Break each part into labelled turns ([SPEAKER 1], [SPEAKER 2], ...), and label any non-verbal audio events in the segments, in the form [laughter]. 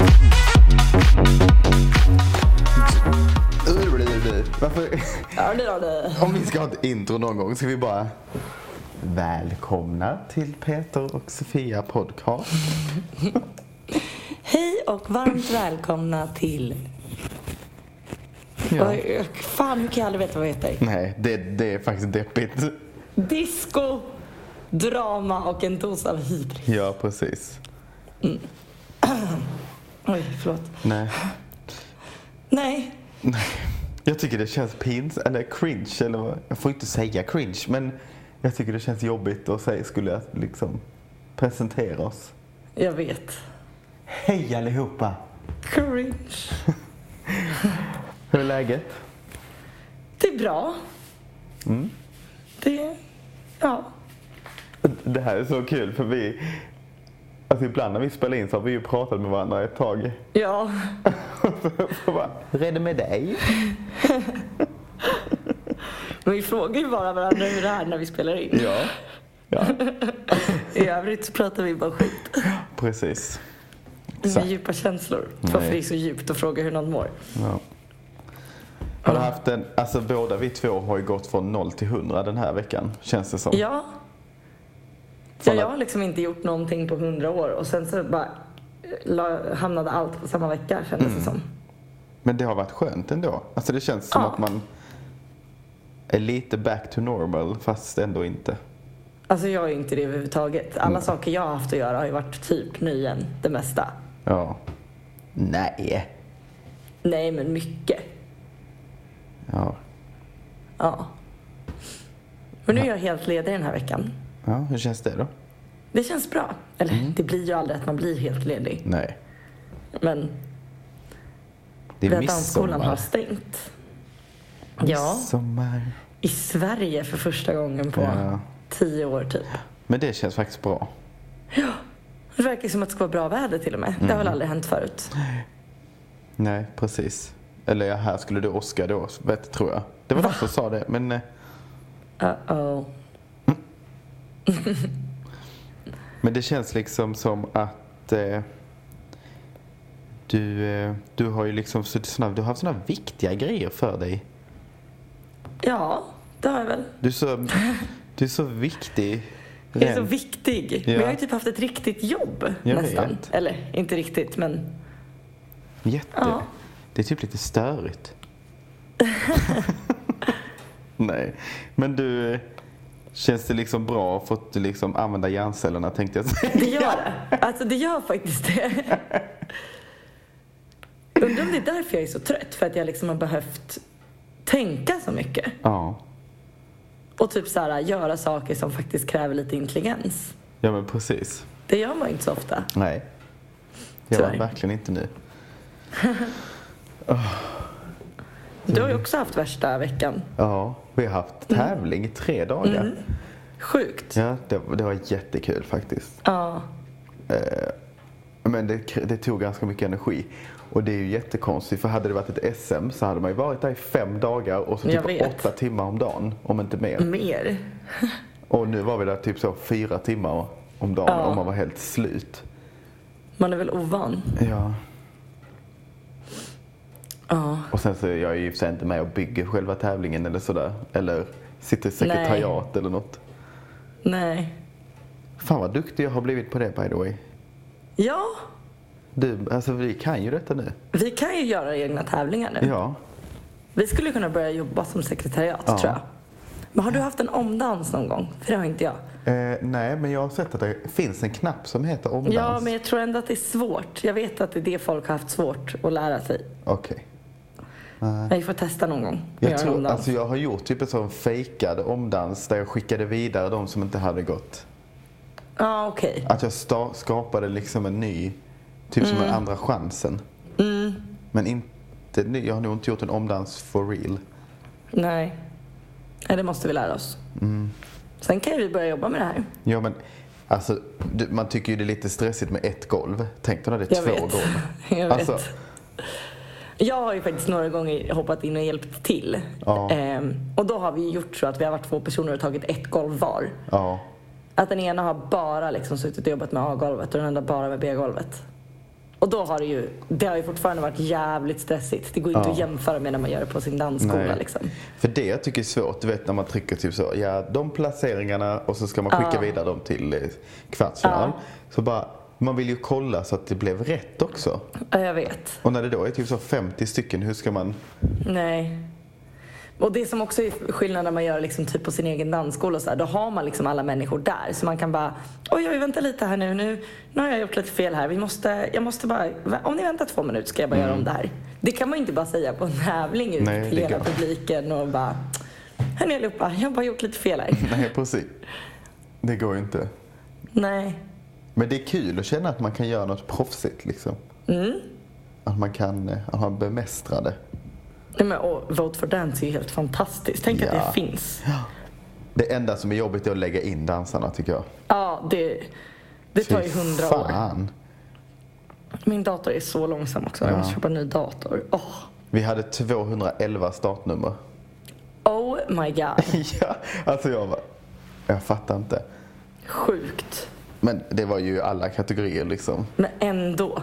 [SPEAKER 1] [laughs] Om vi ska ha ett intro någon gång ska vi bara... Välkomna till Peter och Sofia podcast.
[SPEAKER 2] Hej och varmt välkomna till...
[SPEAKER 1] Ja.
[SPEAKER 2] Oj, Fan, hur kan jag aldrig veta vad det heter?
[SPEAKER 1] Nej, det, det är faktiskt deppigt.
[SPEAKER 2] Disco, drama och en dos av hybris.
[SPEAKER 1] Ja, precis.
[SPEAKER 2] Oj, förlåt.
[SPEAKER 1] Nej.
[SPEAKER 2] Nej,
[SPEAKER 1] Jag tycker det känns pins eller cringe eller vad. Jag får inte säga cringe men jag tycker det känns jobbigt att säga skulle jag liksom presentera oss.
[SPEAKER 2] jag vet.
[SPEAKER 1] Hej allihopa!
[SPEAKER 2] Cringe.
[SPEAKER 1] Hur är läget?
[SPEAKER 2] Det är bra.
[SPEAKER 1] Mm.
[SPEAKER 2] Det... Ja.
[SPEAKER 1] Det här är så kul för vi, alltså ibland när vi spelar in så har vi ju pratat med varandra ett tag.
[SPEAKER 2] Ja.
[SPEAKER 1] Så bara, Hur är det med dig?
[SPEAKER 2] Men vi frågar ju bara varandra hur det är när vi spelar in.
[SPEAKER 1] Ja. Ja,
[SPEAKER 2] I övrigt så pratar vi bara skit.
[SPEAKER 1] precis.
[SPEAKER 2] Inga
[SPEAKER 1] Exakt.
[SPEAKER 2] djupa känslor.
[SPEAKER 1] Nej.
[SPEAKER 2] Varför det är så djupt att fråga hur någon mår.
[SPEAKER 1] Ja. Har du haft en, alltså båda vi två har ju gått från 0 till 100 den här veckan känns det som.
[SPEAKER 2] Ja. Ja, jag har liksom inte gjort någonting på hundra år och sen så bara eh, la, hamnade allt på samma vecka kändes
[SPEAKER 1] Mm.
[SPEAKER 2] det som.
[SPEAKER 1] Men det har varit skönt ändå. Alltså det känns som
[SPEAKER 2] Ja.
[SPEAKER 1] att man är lite back to normal fast ändå inte.
[SPEAKER 2] Alltså jag är ju inte det överhuvudtaget. Alla
[SPEAKER 1] Mm.
[SPEAKER 2] saker jag har haft att göra har ju varit typ nu igen, det mesta.
[SPEAKER 1] Ja. Nej.
[SPEAKER 2] Nej men mycket.
[SPEAKER 1] Ja.
[SPEAKER 2] Ja. Men nu är jag helt ledig den här veckan.
[SPEAKER 1] ja, hur känns det då?
[SPEAKER 2] Det känns bra. Eller
[SPEAKER 1] Mm.
[SPEAKER 2] det blir ju aldrig att man blir helt ledig.
[SPEAKER 1] Nej.
[SPEAKER 2] Men
[SPEAKER 1] Det är
[SPEAKER 2] vid att dansskolan har
[SPEAKER 1] midsommar.
[SPEAKER 2] stängt. Ja,
[SPEAKER 1] Midsommar.
[SPEAKER 2] i Sverige för första gången på
[SPEAKER 1] Ja.
[SPEAKER 2] tio år typ.
[SPEAKER 1] Men det känns faktiskt bra.
[SPEAKER 2] Det verkar som att det ska vara bra väder till och med. Det har väl
[SPEAKER 1] Mm.
[SPEAKER 2] aldrig hänt förut?
[SPEAKER 1] Nej, precis. Eller ja, här skulle du åska då, vet, tror jag. Det var någon som sa det, men eh,
[SPEAKER 2] Uh-oh.
[SPEAKER 1] Men det känns liksom som att eh, du, eh, du har ju liksom så- såna, du har haft sådana viktiga grejer för dig.
[SPEAKER 2] Ja, det har jag väl.
[SPEAKER 1] Du är
[SPEAKER 2] [laughs]
[SPEAKER 1] så, du är så viktig.
[SPEAKER 2] Jag är så
[SPEAKER 1] Rent-
[SPEAKER 2] viktig. Men
[SPEAKER 1] Ja.
[SPEAKER 2] jag har ju typ haft ett riktigt jobb
[SPEAKER 1] Jag
[SPEAKER 2] nästan.
[SPEAKER 1] vet.
[SPEAKER 2] Eller inte riktigt, men
[SPEAKER 1] Jätte.
[SPEAKER 2] Ja.
[SPEAKER 1] Det är typ lite störigt. [laughs] Nej, men du, eh, känns det liksom bra? Fått du liksom använda hjärncellerna tänkte jag
[SPEAKER 2] [laughs]
[SPEAKER 1] säga.
[SPEAKER 2] det gör det. Alltså det gör
[SPEAKER 1] [laughs]
[SPEAKER 2] faktiskt det. Undrar om det är därför jag är så trött. För att jag liksom har behövt tänka så mycket.
[SPEAKER 1] Ja,
[SPEAKER 2] Och typ så här, göra saker som faktiskt kräver lite intelligens.
[SPEAKER 1] ja men precis.
[SPEAKER 2] Det gör man ju inte så ofta.
[SPEAKER 1] Nej. Jag var
[SPEAKER 2] Tyvärr.
[SPEAKER 1] verkligen inte nu.
[SPEAKER 2] Du
[SPEAKER 1] Mm.
[SPEAKER 2] har ju också haft värsta veckan.
[SPEAKER 1] Ja, vi har haft
[SPEAKER 2] Mm.
[SPEAKER 1] tävling i tre dagar.
[SPEAKER 2] Sjukt.
[SPEAKER 1] Ja, det, det var jättekul faktiskt.
[SPEAKER 2] Ja.
[SPEAKER 1] Men det, krä- det tog ganska mycket energi. Och det är ju jättekonstigt för hade det varit ett SM så hade man ju varit där i fem dagar och så
[SPEAKER 2] Jag
[SPEAKER 1] typ
[SPEAKER 2] vet. Mm.
[SPEAKER 1] åtta timmar om dagen, om inte mer.
[SPEAKER 2] Mer.
[SPEAKER 1] Och nu var vi där typ så fyra timmar om dagen
[SPEAKER 2] Ja.
[SPEAKER 1] och man var helt slut.
[SPEAKER 2] Man är väl ovan?
[SPEAKER 1] Ja.
[SPEAKER 2] Ja.
[SPEAKER 1] Och sen så är jag ju i och för sig inte med och bygger själva tävlingen eller sådär. Eller sitter i sekretariat eller något.
[SPEAKER 2] Nej.
[SPEAKER 1] Fan vad duktig jag har blivit på det by the way.
[SPEAKER 2] Ja,
[SPEAKER 1] Du, alltså vi kan ju detta nu.
[SPEAKER 2] vi kan ju göra egna tävlingar nu.
[SPEAKER 1] Ja.
[SPEAKER 2] Vi skulle kunna börja jobba som sekretariat
[SPEAKER 1] Ja.
[SPEAKER 2] tror jag. Men har du haft en omdans någon gång? För det har inte jag.
[SPEAKER 1] Eh, nej, men jag har sett att det finns en knapp som heter omdans.
[SPEAKER 2] Ja, men jag tror ändå att det är svårt. Jag vet att det är det folk har haft svårt att lära sig.
[SPEAKER 1] Okej.
[SPEAKER 2] Men vi får testa någon gång. att
[SPEAKER 1] Jag,
[SPEAKER 2] göra en
[SPEAKER 1] tror,
[SPEAKER 2] omdans.
[SPEAKER 1] alltså jag har gjort typ en sån fejkad omdans där jag skickade vidare de som inte hade gått.
[SPEAKER 2] Ja, okej.
[SPEAKER 1] Att jag sta- skapade liksom en ny, typ som
[SPEAKER 2] Mm.
[SPEAKER 1] en andra chansen. Men inte ny, jag har nog inte gjort en omdans for real.
[SPEAKER 2] Nej. Nej, det måste vi lära oss.
[SPEAKER 1] Mm.
[SPEAKER 2] Sen kan ju vi börja jobba med det här.
[SPEAKER 1] Ja men, alltså du, man tycker ju det är lite stressigt med ett golv. Tänk dig när det är
[SPEAKER 2] Jag
[SPEAKER 1] två
[SPEAKER 2] vet.
[SPEAKER 1] golv.
[SPEAKER 2] [laughs] Jag vet.
[SPEAKER 1] Alltså,
[SPEAKER 2] Jag har ju faktiskt några gånger hoppat in och hjälpt till.
[SPEAKER 1] Ja.
[SPEAKER 2] Ehm, och då har vi ju gjort så att vi har varit två personer och tagit ett golv var.
[SPEAKER 1] ja.
[SPEAKER 2] Att den ena har bara liksom suttit och jobbat med A-golvet och den andra bara med B-golvet. Och då har det ju, det har ju fortfarande varit jävligt stressigt. Det går ju inte
[SPEAKER 1] Ja.
[SPEAKER 2] att jämföra med när man gör det på sin dansskola
[SPEAKER 1] Nej.
[SPEAKER 2] liksom.
[SPEAKER 1] För det jag tycker är svårt, du vet när man trycker typ så, ja de placeringarna och så ska man skicka vidare dem till eh, kvartsfinal. Så bara, man vill ju kolla så att det blev rätt också.
[SPEAKER 2] Ja, jag vet.
[SPEAKER 1] Och när det då är typ så 50 stycken, hur ska man... [laughs]
[SPEAKER 2] Nej. Och det som också är skillnaden när man gör liksom typ på sin egen dansskola och så här, då har man liksom alla människor där. Så man kan bara, oj, oj, vänta lite här nu. Nu, nu har jag gjort lite fel här. Vi måste, jag måste bara, "Va- om ni väntar två minuter ska jag bara göra om det här. Det kan man ju inte bara säga på en tävling ut
[SPEAKER 1] Mm. Nej,
[SPEAKER 2] till
[SPEAKER 1] det
[SPEAKER 2] hela
[SPEAKER 1] går.
[SPEAKER 2] publiken och bara, hörni allihopa, jag har bara gjort lite fel här.
[SPEAKER 1] Nej precis. Det går ju inte.
[SPEAKER 2] Nej.
[SPEAKER 1] Men det är kul att känna att man kan göra något proffsigt liksom.
[SPEAKER 2] Mm.
[SPEAKER 1] Att man kan, eh, att man bemästrar det.
[SPEAKER 2] Nej, men, och Vote for Dance är ju helt fantastiskt. Tänk att
[SPEAKER 1] Ja.
[SPEAKER 2] det finns.
[SPEAKER 1] Det enda som är jobbigt är att lägga in dansarna tycker jag.
[SPEAKER 2] Ja, det, det tar ju
[SPEAKER 1] Fy
[SPEAKER 2] hundra år.
[SPEAKER 1] fan.
[SPEAKER 2] Min dator är så långsam också. Jag
[SPEAKER 1] Ja.
[SPEAKER 2] måste köpa en ny dator. Åh.
[SPEAKER 1] Vi hade 211 startnummer.
[SPEAKER 2] Oh my god.
[SPEAKER 1] [laughs] ja, alltså jag bara, jag fattar inte.
[SPEAKER 2] Sjukt.
[SPEAKER 1] Men det var ju alla kategorier liksom.
[SPEAKER 2] Men ändå.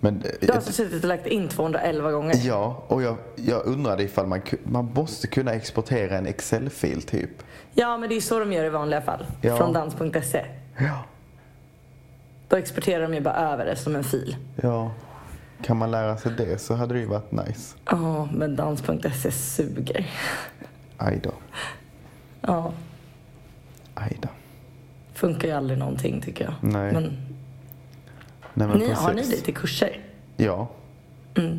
[SPEAKER 1] Men, eh,
[SPEAKER 2] Du har alltså suttit och lagt in 211 gånger.
[SPEAKER 1] ja, och jag, jag undrade ifall man, ku- man måste kunna exportera en Excel-fil typ.
[SPEAKER 2] Ja, men det är ju så de gör i vanliga fall.
[SPEAKER 1] Ja.
[SPEAKER 2] Från dans.se.
[SPEAKER 1] Ja.
[SPEAKER 2] Då exporterar de ju bara över det som en fil.
[SPEAKER 1] ja. Kan man lära sig det så hade det ju varit nice.
[SPEAKER 2] Ja, men dans.se suger.
[SPEAKER 1] Aj då.
[SPEAKER 2] Ja,
[SPEAKER 1] Aj då.
[SPEAKER 2] funkar ju aldrig någonting tycker jag.
[SPEAKER 1] Nej.
[SPEAKER 2] Men,
[SPEAKER 1] Nej, men
[SPEAKER 2] ni, har ni
[SPEAKER 1] precis.
[SPEAKER 2] det till kurser?
[SPEAKER 1] Ja. Där.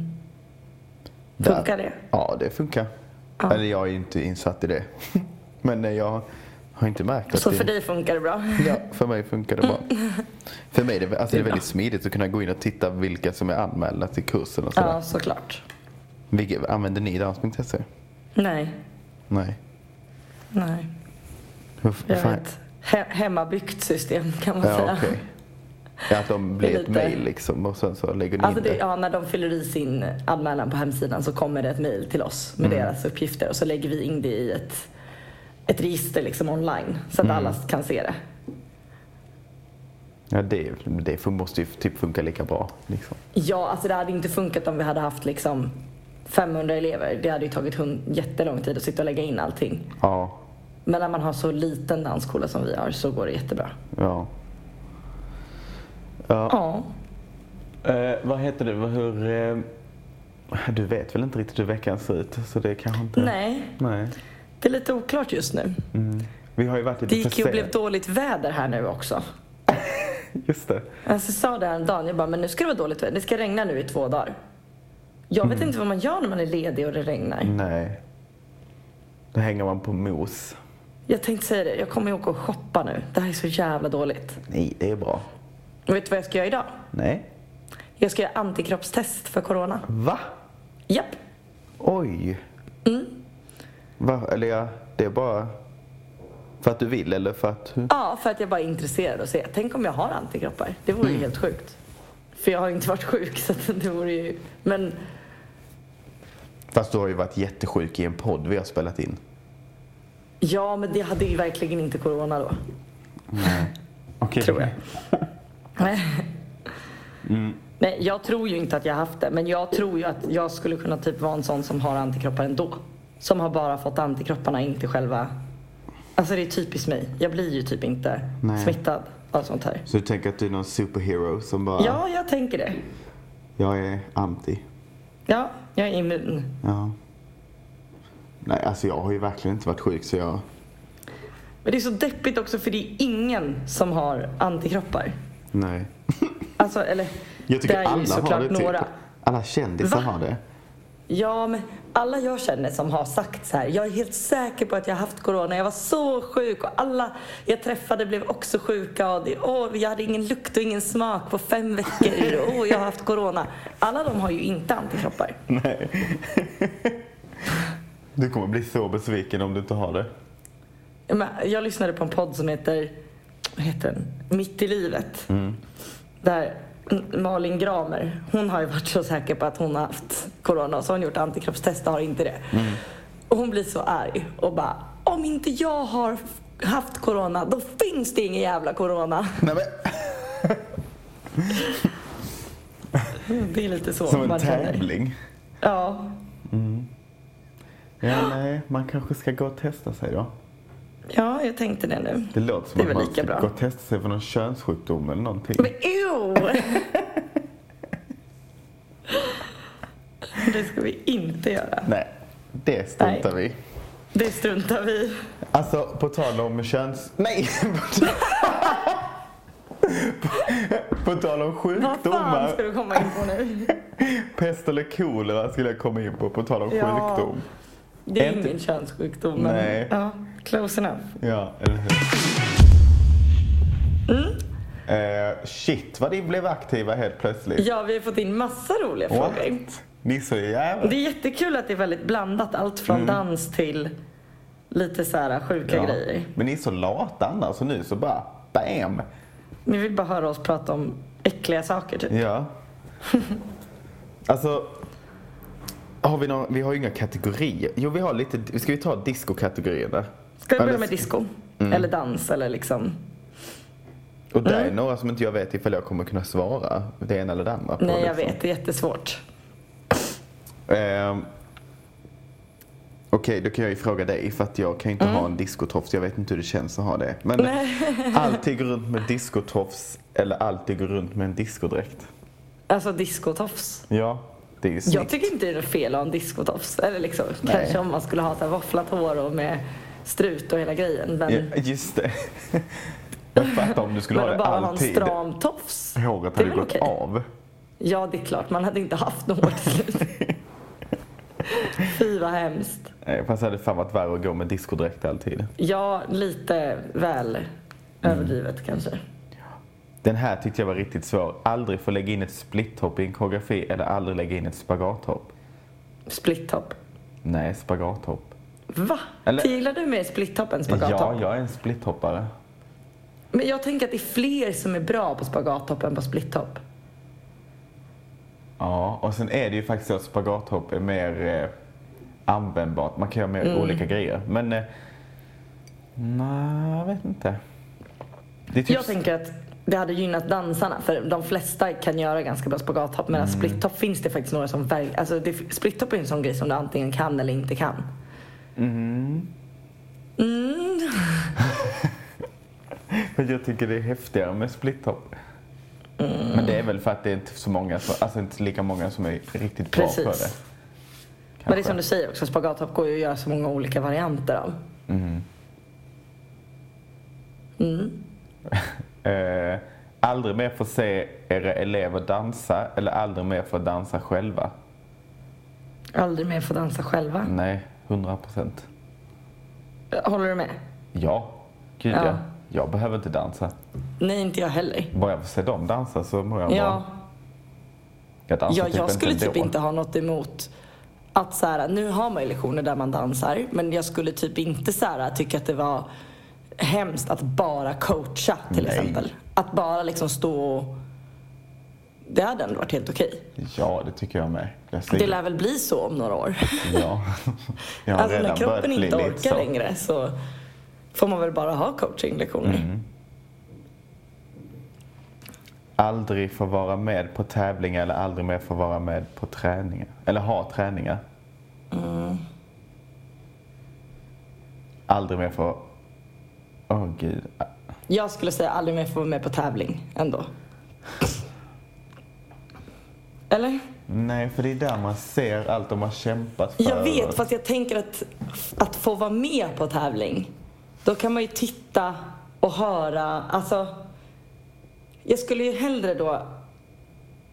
[SPEAKER 2] Funkar det?
[SPEAKER 1] Ja, det funkar. Eller jag är ju inte insatt i det. [laughs] Men eh, jag har inte märkt att
[SPEAKER 2] Så
[SPEAKER 1] det...
[SPEAKER 2] för dig funkar det bra?
[SPEAKER 1] Ja, för mig funkar det bra. För mig är det, alltså det är
[SPEAKER 2] bra.
[SPEAKER 1] väldigt smidigt att kunna gå in och titta vilka som är anmälda till kursen och sådär.
[SPEAKER 2] Ja, såklart.
[SPEAKER 1] Vilka, använder ni dans.se?
[SPEAKER 2] Nej,
[SPEAKER 1] E? Nej.
[SPEAKER 2] nej.
[SPEAKER 1] Hur f-
[SPEAKER 2] Jag
[SPEAKER 1] fan-
[SPEAKER 2] vet. He- hemmabyggt system kan man
[SPEAKER 1] Ja,
[SPEAKER 2] säga.
[SPEAKER 1] okej. Ja, att de
[SPEAKER 2] Det
[SPEAKER 1] blir
[SPEAKER 2] är
[SPEAKER 1] ett
[SPEAKER 2] lite-
[SPEAKER 1] mejl liksom och sen så lägger ni
[SPEAKER 2] Alltså
[SPEAKER 1] in
[SPEAKER 2] det,
[SPEAKER 1] det.
[SPEAKER 2] ja, när de fyller i sin anmälan på hemsidan så kommer det ett mejl till oss med
[SPEAKER 1] Mm.
[SPEAKER 2] deras uppgifter och så lägger vi in det i ett, ett register liksom online så att
[SPEAKER 1] Mm.
[SPEAKER 2] alla kan se det.
[SPEAKER 1] Ja, det, det fun- måste ju typ funka lika bra. Liksom.
[SPEAKER 2] Ja, alltså det hade inte funkat om vi hade haft liksom 500 elever. Det hade ju tagit hund, jättelång tid att sitta och lägga in allting.
[SPEAKER 1] Ja,
[SPEAKER 2] Men när man har så liten dansskola som vi har så går det jättebra.
[SPEAKER 1] ja.
[SPEAKER 2] Ja,
[SPEAKER 1] Eh, vad heter det? Vad- Hur... eh, du vet väl inte riktigt hur veckan ser ut? Så det kanske inte...
[SPEAKER 2] nej,
[SPEAKER 1] Nej.
[SPEAKER 2] det är lite oklart just nu.
[SPEAKER 1] Vi har ju varit lite
[SPEAKER 2] Det gick ju och
[SPEAKER 1] försenade.
[SPEAKER 2] blev dåligt väder här nu också.
[SPEAKER 1] Just det.
[SPEAKER 2] Alltså, jag sa det här en dag, jag bara, men nu ska det vara dåligt väder. Det ska regna nu i två dagar. Jag vet inte vad man gör när man är ledig och det regnar.
[SPEAKER 1] Nej. Då hänger man på mos.
[SPEAKER 2] Jag tänkte säga det, jag kommer ju åka och shoppa nu. Det här är så jävla dåligt.
[SPEAKER 1] Nej, det är bra.
[SPEAKER 2] Och vet du vad jag ska göra idag?
[SPEAKER 1] Nej.
[SPEAKER 2] Jag ska göra antikroppstest för corona.
[SPEAKER 1] Va?
[SPEAKER 2] Japp!
[SPEAKER 1] Oj. Mm. Va? Eller ja, det är bara för att du vill eller för att...
[SPEAKER 2] Ja, för att jag bara är intresserad och se. Tänk om jag har antikroppar. Det vore ju helt sjukt. För jag har ju inte varit sjuk [laughs] så att det vore ju... Men
[SPEAKER 1] Fast du har ju varit jättesjuk i en podd vi har spelat in.
[SPEAKER 2] ja, men det hade ju verkligen inte corona då.
[SPEAKER 1] Okej. [laughs]
[SPEAKER 2] Tror jag.
[SPEAKER 1] Mm.
[SPEAKER 2] Nej, jag tror ju inte att jag haft det, men jag tror ju att jag skulle kunna typ vara en sån som har antikroppar ändå. Som har bara fått antikropparna, inte själva... Alltså det är typiskt mig. Jag blir ju typ inte
[SPEAKER 1] Nej.
[SPEAKER 2] smittad av sånt här.
[SPEAKER 1] Så du tänker att du är någon superhero som bara...
[SPEAKER 2] Ja, jag tänker det.
[SPEAKER 1] Jag är anti.
[SPEAKER 2] Ja, jag är immun.
[SPEAKER 1] Ja. Nej, alltså jag har ju verkligen inte varit sjuk så jag...
[SPEAKER 2] Men det är så deppigt också för det är ingen som har antikroppar.
[SPEAKER 1] Nej.
[SPEAKER 2] Alltså, eller...
[SPEAKER 1] Jag tycker
[SPEAKER 2] det är ju
[SPEAKER 1] alla har
[SPEAKER 2] såklart
[SPEAKER 1] det typ.
[SPEAKER 2] några.
[SPEAKER 1] Alla kändisar
[SPEAKER 2] Va?
[SPEAKER 1] har det.
[SPEAKER 2] Ja, men alla jag känner som har sagt så här, jag är helt säker på att jag har haft corona, jag var så sjuk och alla jag träffade blev också sjuka och det, åh, jag hade ingen lukt och ingen smak på fem veckor och åh, jag har haft corona. Alla de har ju inte antikroppar.
[SPEAKER 1] Du kommer bli så besviken om du inte har det.
[SPEAKER 2] Men Jag lyssnade på en podd som heter, vad heter den? Mitt i livet.
[SPEAKER 1] Mm.
[SPEAKER 2] Där Malin Gramer, hon har ju varit så säker på att hon har haft corona och så har hon gjort antikroppstest och har inte det.
[SPEAKER 1] Mm.
[SPEAKER 2] Och hon blir så arg och bara, om inte jag har f- haft corona, då finns det ingen jävla corona.
[SPEAKER 1] Nej men...
[SPEAKER 2] [laughs] Det är lite så
[SPEAKER 1] Som en
[SPEAKER 2] man känner.
[SPEAKER 1] tävling.
[SPEAKER 2] Ja,
[SPEAKER 1] Mm. Ja, nej, man kanske ska gå och testa sig då.
[SPEAKER 2] ja, jag tänkte det nu.
[SPEAKER 1] Det låter som
[SPEAKER 2] Det är
[SPEAKER 1] att
[SPEAKER 2] väl
[SPEAKER 1] man
[SPEAKER 2] lika
[SPEAKER 1] ska
[SPEAKER 2] bra.
[SPEAKER 1] gå och testa sig för någon könssjukdom eller någonting.
[SPEAKER 2] Men ew! [laughs] Det ska vi inte göra.
[SPEAKER 1] Nej, det struntar vi
[SPEAKER 2] Det struntar vi
[SPEAKER 1] Alltså, på tal om köns... Nej! På tal, [laughs] på, på tal om
[SPEAKER 2] Vad fan ska
[SPEAKER 1] sjukdomar.
[SPEAKER 2] du komma in på nu?
[SPEAKER 1] Pest eller kolera skulle jag komma in på, på tal om
[SPEAKER 2] Ja.
[SPEAKER 1] sjukdom.
[SPEAKER 2] Det är
[SPEAKER 1] Inte-
[SPEAKER 2] ingen könssjukdom. men-
[SPEAKER 1] Nej.
[SPEAKER 2] Ja, close enough.
[SPEAKER 1] Ja, eller hur?
[SPEAKER 2] Mm.
[SPEAKER 1] Eh, shit vad ni blev aktiva helt plötsligt.
[SPEAKER 2] Ja, vi har fått in massa roliga frågor.
[SPEAKER 1] What? Ni är så jävla...
[SPEAKER 2] Det är jättekul att det är väldigt blandat. Allt från dans till lite så här sjuka
[SPEAKER 1] Mm. Ja.
[SPEAKER 2] grejer.
[SPEAKER 1] Men ni är så lata annars och nu så bara BAM!
[SPEAKER 2] Ni vill bara höra oss prata om äckliga saker typ.
[SPEAKER 1] Ja. alltså, har vi, någon, vi har ju inga kategorier. Jo, vi har lite... Ska vi ta disco-kategorierna?
[SPEAKER 2] Ska vi börja
[SPEAKER 1] Eller-
[SPEAKER 2] med disco?
[SPEAKER 1] Mm.
[SPEAKER 2] Eller dans eller liksom?
[SPEAKER 1] Och där
[SPEAKER 2] Mm.
[SPEAKER 1] är några som inte jag vet ifall jag kommer kunna svara det ena eller det andra på.
[SPEAKER 2] Nej, jag
[SPEAKER 1] liksom.
[SPEAKER 2] vet. Det är jättesvårt.
[SPEAKER 1] Ehm, Okej, då kan jag ju fråga dig för att jag kan ju inte
[SPEAKER 2] Mm.
[SPEAKER 1] ha en discotofs. Jag vet inte hur det känns att ha det. Men
[SPEAKER 2] [laughs]
[SPEAKER 1] alltid gå runt med discotofs eller alltid gå runt med en discodräkt?
[SPEAKER 2] Alltså discotofs.
[SPEAKER 1] Ja, det är ju snyggt.
[SPEAKER 2] Jag tycker inte det är något fel att ha en discotofs. Eller liksom,
[SPEAKER 1] Nej.
[SPEAKER 2] kanske om man skulle ha så här våfflat hår och med strut och hela grejen. Men,
[SPEAKER 1] Ja, just det. [laughs] Jag fattar om du skulle
[SPEAKER 2] men
[SPEAKER 1] ha
[SPEAKER 2] att
[SPEAKER 1] det
[SPEAKER 2] bara ha en
[SPEAKER 1] alltid.
[SPEAKER 2] stram tofs.
[SPEAKER 1] Håret
[SPEAKER 2] Det är
[SPEAKER 1] hade
[SPEAKER 2] väl
[SPEAKER 1] gått
[SPEAKER 2] okej.
[SPEAKER 1] av.
[SPEAKER 2] Ja, det är klart. Man hade inte haft något hår till slut.
[SPEAKER 1] [laughs]
[SPEAKER 2] Fy vad hemskt.
[SPEAKER 1] Nej, Eh, Fast det hade fan varit värre att gå med discodräkt alltid.
[SPEAKER 2] Ja, lite väl
[SPEAKER 1] Mm.
[SPEAKER 2] överdrivet kanske.
[SPEAKER 1] Den här tyckte jag var riktigt svår. Aldrig få lägga in ett split-hopp i en koreografi eller aldrig lägga in ett spagathopp.
[SPEAKER 2] Split-top.
[SPEAKER 1] Nej, spagathopp.
[SPEAKER 2] Va?
[SPEAKER 1] Eller-
[SPEAKER 2] Gillar du mer split-top än spagat-top?
[SPEAKER 1] Ja, jag är en split-hoppare.
[SPEAKER 2] Men jag tänker att det är fler som är bra på spagattopp än på splitttopp.
[SPEAKER 1] Ja, och sen är det ju faktiskt så att spagathopp är mer eh, användbart. Man kan göra mer
[SPEAKER 2] Mm.
[SPEAKER 1] olika grejer. Men... Eh, nej, jag vet inte. Det är typ
[SPEAKER 2] Jag tänker att det hade gynnat dansarna för de flesta kan göra ganska bra spagathopp medan
[SPEAKER 1] Mm.
[SPEAKER 2] splitttopp finns det faktiskt några som verkligen... Alltså det, splitttopp är ju en sån grej som du antingen kan eller inte kan.
[SPEAKER 1] Mm-hmm.
[SPEAKER 2] Mm,
[SPEAKER 1] Men jag tycker det är häftigare med split top.
[SPEAKER 2] Mm.
[SPEAKER 1] Men det är väl för att det är inte så många, som, alltså inte lika många som är riktigt bra
[SPEAKER 2] Precis.
[SPEAKER 1] på det.
[SPEAKER 2] Men det är som du säger också, spagathopp går ju att göra så många olika varianter av.
[SPEAKER 1] Eh, aldrig mer få se era elever dansa eller aldrig mer få dansa själva.
[SPEAKER 2] Aldrig mer få dansa själva.
[SPEAKER 1] Nej, 100 procent.
[SPEAKER 2] Håller du med?
[SPEAKER 1] Ja, gud ja.
[SPEAKER 2] Ja.
[SPEAKER 1] Jag behöver inte dansa.
[SPEAKER 2] Nej, inte jag heller.
[SPEAKER 1] Bara jag får se dem dansa så mår jag
[SPEAKER 2] Ja,
[SPEAKER 1] bra. Jag dansar
[SPEAKER 2] ja jag
[SPEAKER 1] inte
[SPEAKER 2] skulle typ
[SPEAKER 1] ändå.
[SPEAKER 2] inte ha något emot att så här, nu har man ju lektioner där man dansar, men jag skulle typ inte så här, tycka att det var hemskt att bara coacha till
[SPEAKER 1] Nej.
[SPEAKER 2] exempel. Att bara liksom stå och... Det hade ändå varit helt okej.
[SPEAKER 1] Ja, det tycker jag med. Jag ser,
[SPEAKER 2] Det lär väl bli så om några år.
[SPEAKER 1] ja. [laughs] jag har
[SPEAKER 2] alltså
[SPEAKER 1] redan
[SPEAKER 2] när
[SPEAKER 1] börjat
[SPEAKER 2] kroppen
[SPEAKER 1] bli liksom.
[SPEAKER 2] inte
[SPEAKER 1] lite
[SPEAKER 2] orkar
[SPEAKER 1] så.
[SPEAKER 2] längre så får man väl bara ha coachinglektioner.
[SPEAKER 1] Mm. aldrig få vara med på tävlingar eller aldrig mer få vara med på träningar. Eller ha träningar. Aldrig mer få... Åh gud.
[SPEAKER 2] Jag skulle säga aldrig mer få vara med på tävling ändå. Eller?
[SPEAKER 1] Nej, för det är där man ser allt de har kämpat för.
[SPEAKER 2] Jag vet, fast jag tänker att, att få vara med på tävling, då kan man ju titta och höra. Alltså, jag skulle ju hellre då...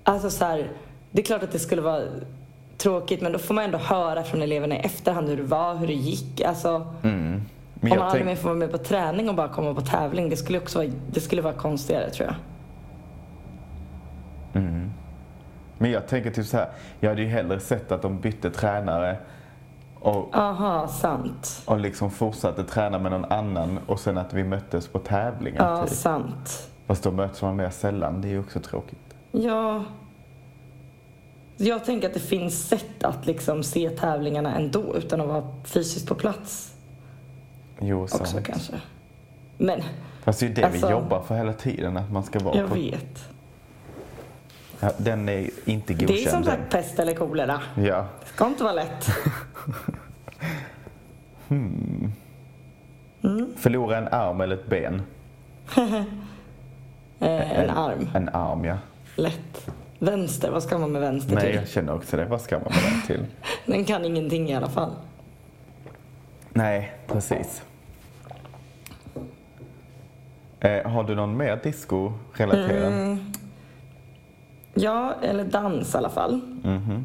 [SPEAKER 2] Alltså så här, det är klart att det skulle vara tråkigt, men då får man ändå höra från eleverna i efterhand hur det var, hur det gick. Alltså,
[SPEAKER 1] Mm. Men jag
[SPEAKER 2] om man aldrig
[SPEAKER 1] tänk...
[SPEAKER 2] mer får vara med på träning och bara komma på tävling, det skulle också vara, det skulle vara konstigare tror jag.
[SPEAKER 1] Men jag tänker typ så här. Jag hade ju hellre sett att de bytte tränare och,
[SPEAKER 2] Aha, sant.
[SPEAKER 1] och liksom fortsatte träna med någon annan och sen att vi möttes på tävlingar.
[SPEAKER 2] Ja,
[SPEAKER 1] typ.
[SPEAKER 2] sant.
[SPEAKER 1] Fast då möts man mer sällan. Det är ju också tråkigt.
[SPEAKER 2] Ja. Jag tänker att det finns sätt att liksom se tävlingarna ändå utan att vara fysiskt på plats
[SPEAKER 1] Jo,
[SPEAKER 2] också
[SPEAKER 1] sant.
[SPEAKER 2] kanske. Men
[SPEAKER 1] Fast det är ju det
[SPEAKER 2] Alltså-
[SPEAKER 1] vi jobbar för hela tiden, att man ska vara
[SPEAKER 2] jag
[SPEAKER 1] på...
[SPEAKER 2] vet.
[SPEAKER 1] Ja, den är inte godkänd.
[SPEAKER 2] Det är som sagt pest eller kolera.
[SPEAKER 1] Ja.
[SPEAKER 2] Det ska inte vara lätt.
[SPEAKER 1] Förlora en arm eller ett ben.
[SPEAKER 2] Eh, en arm.
[SPEAKER 1] En arm, ja.
[SPEAKER 2] Lätt. Vänster, vad ska man med vänster
[SPEAKER 1] Nej,
[SPEAKER 2] till?
[SPEAKER 1] jag känner också det. Vad ska man med den till?
[SPEAKER 2] Den kan ingenting i alla fall.
[SPEAKER 1] Nej, precis. Eh, har du någon mer disco-relaterad?
[SPEAKER 2] Mm. Ja, eller dans i alla fall.
[SPEAKER 1] Mhm.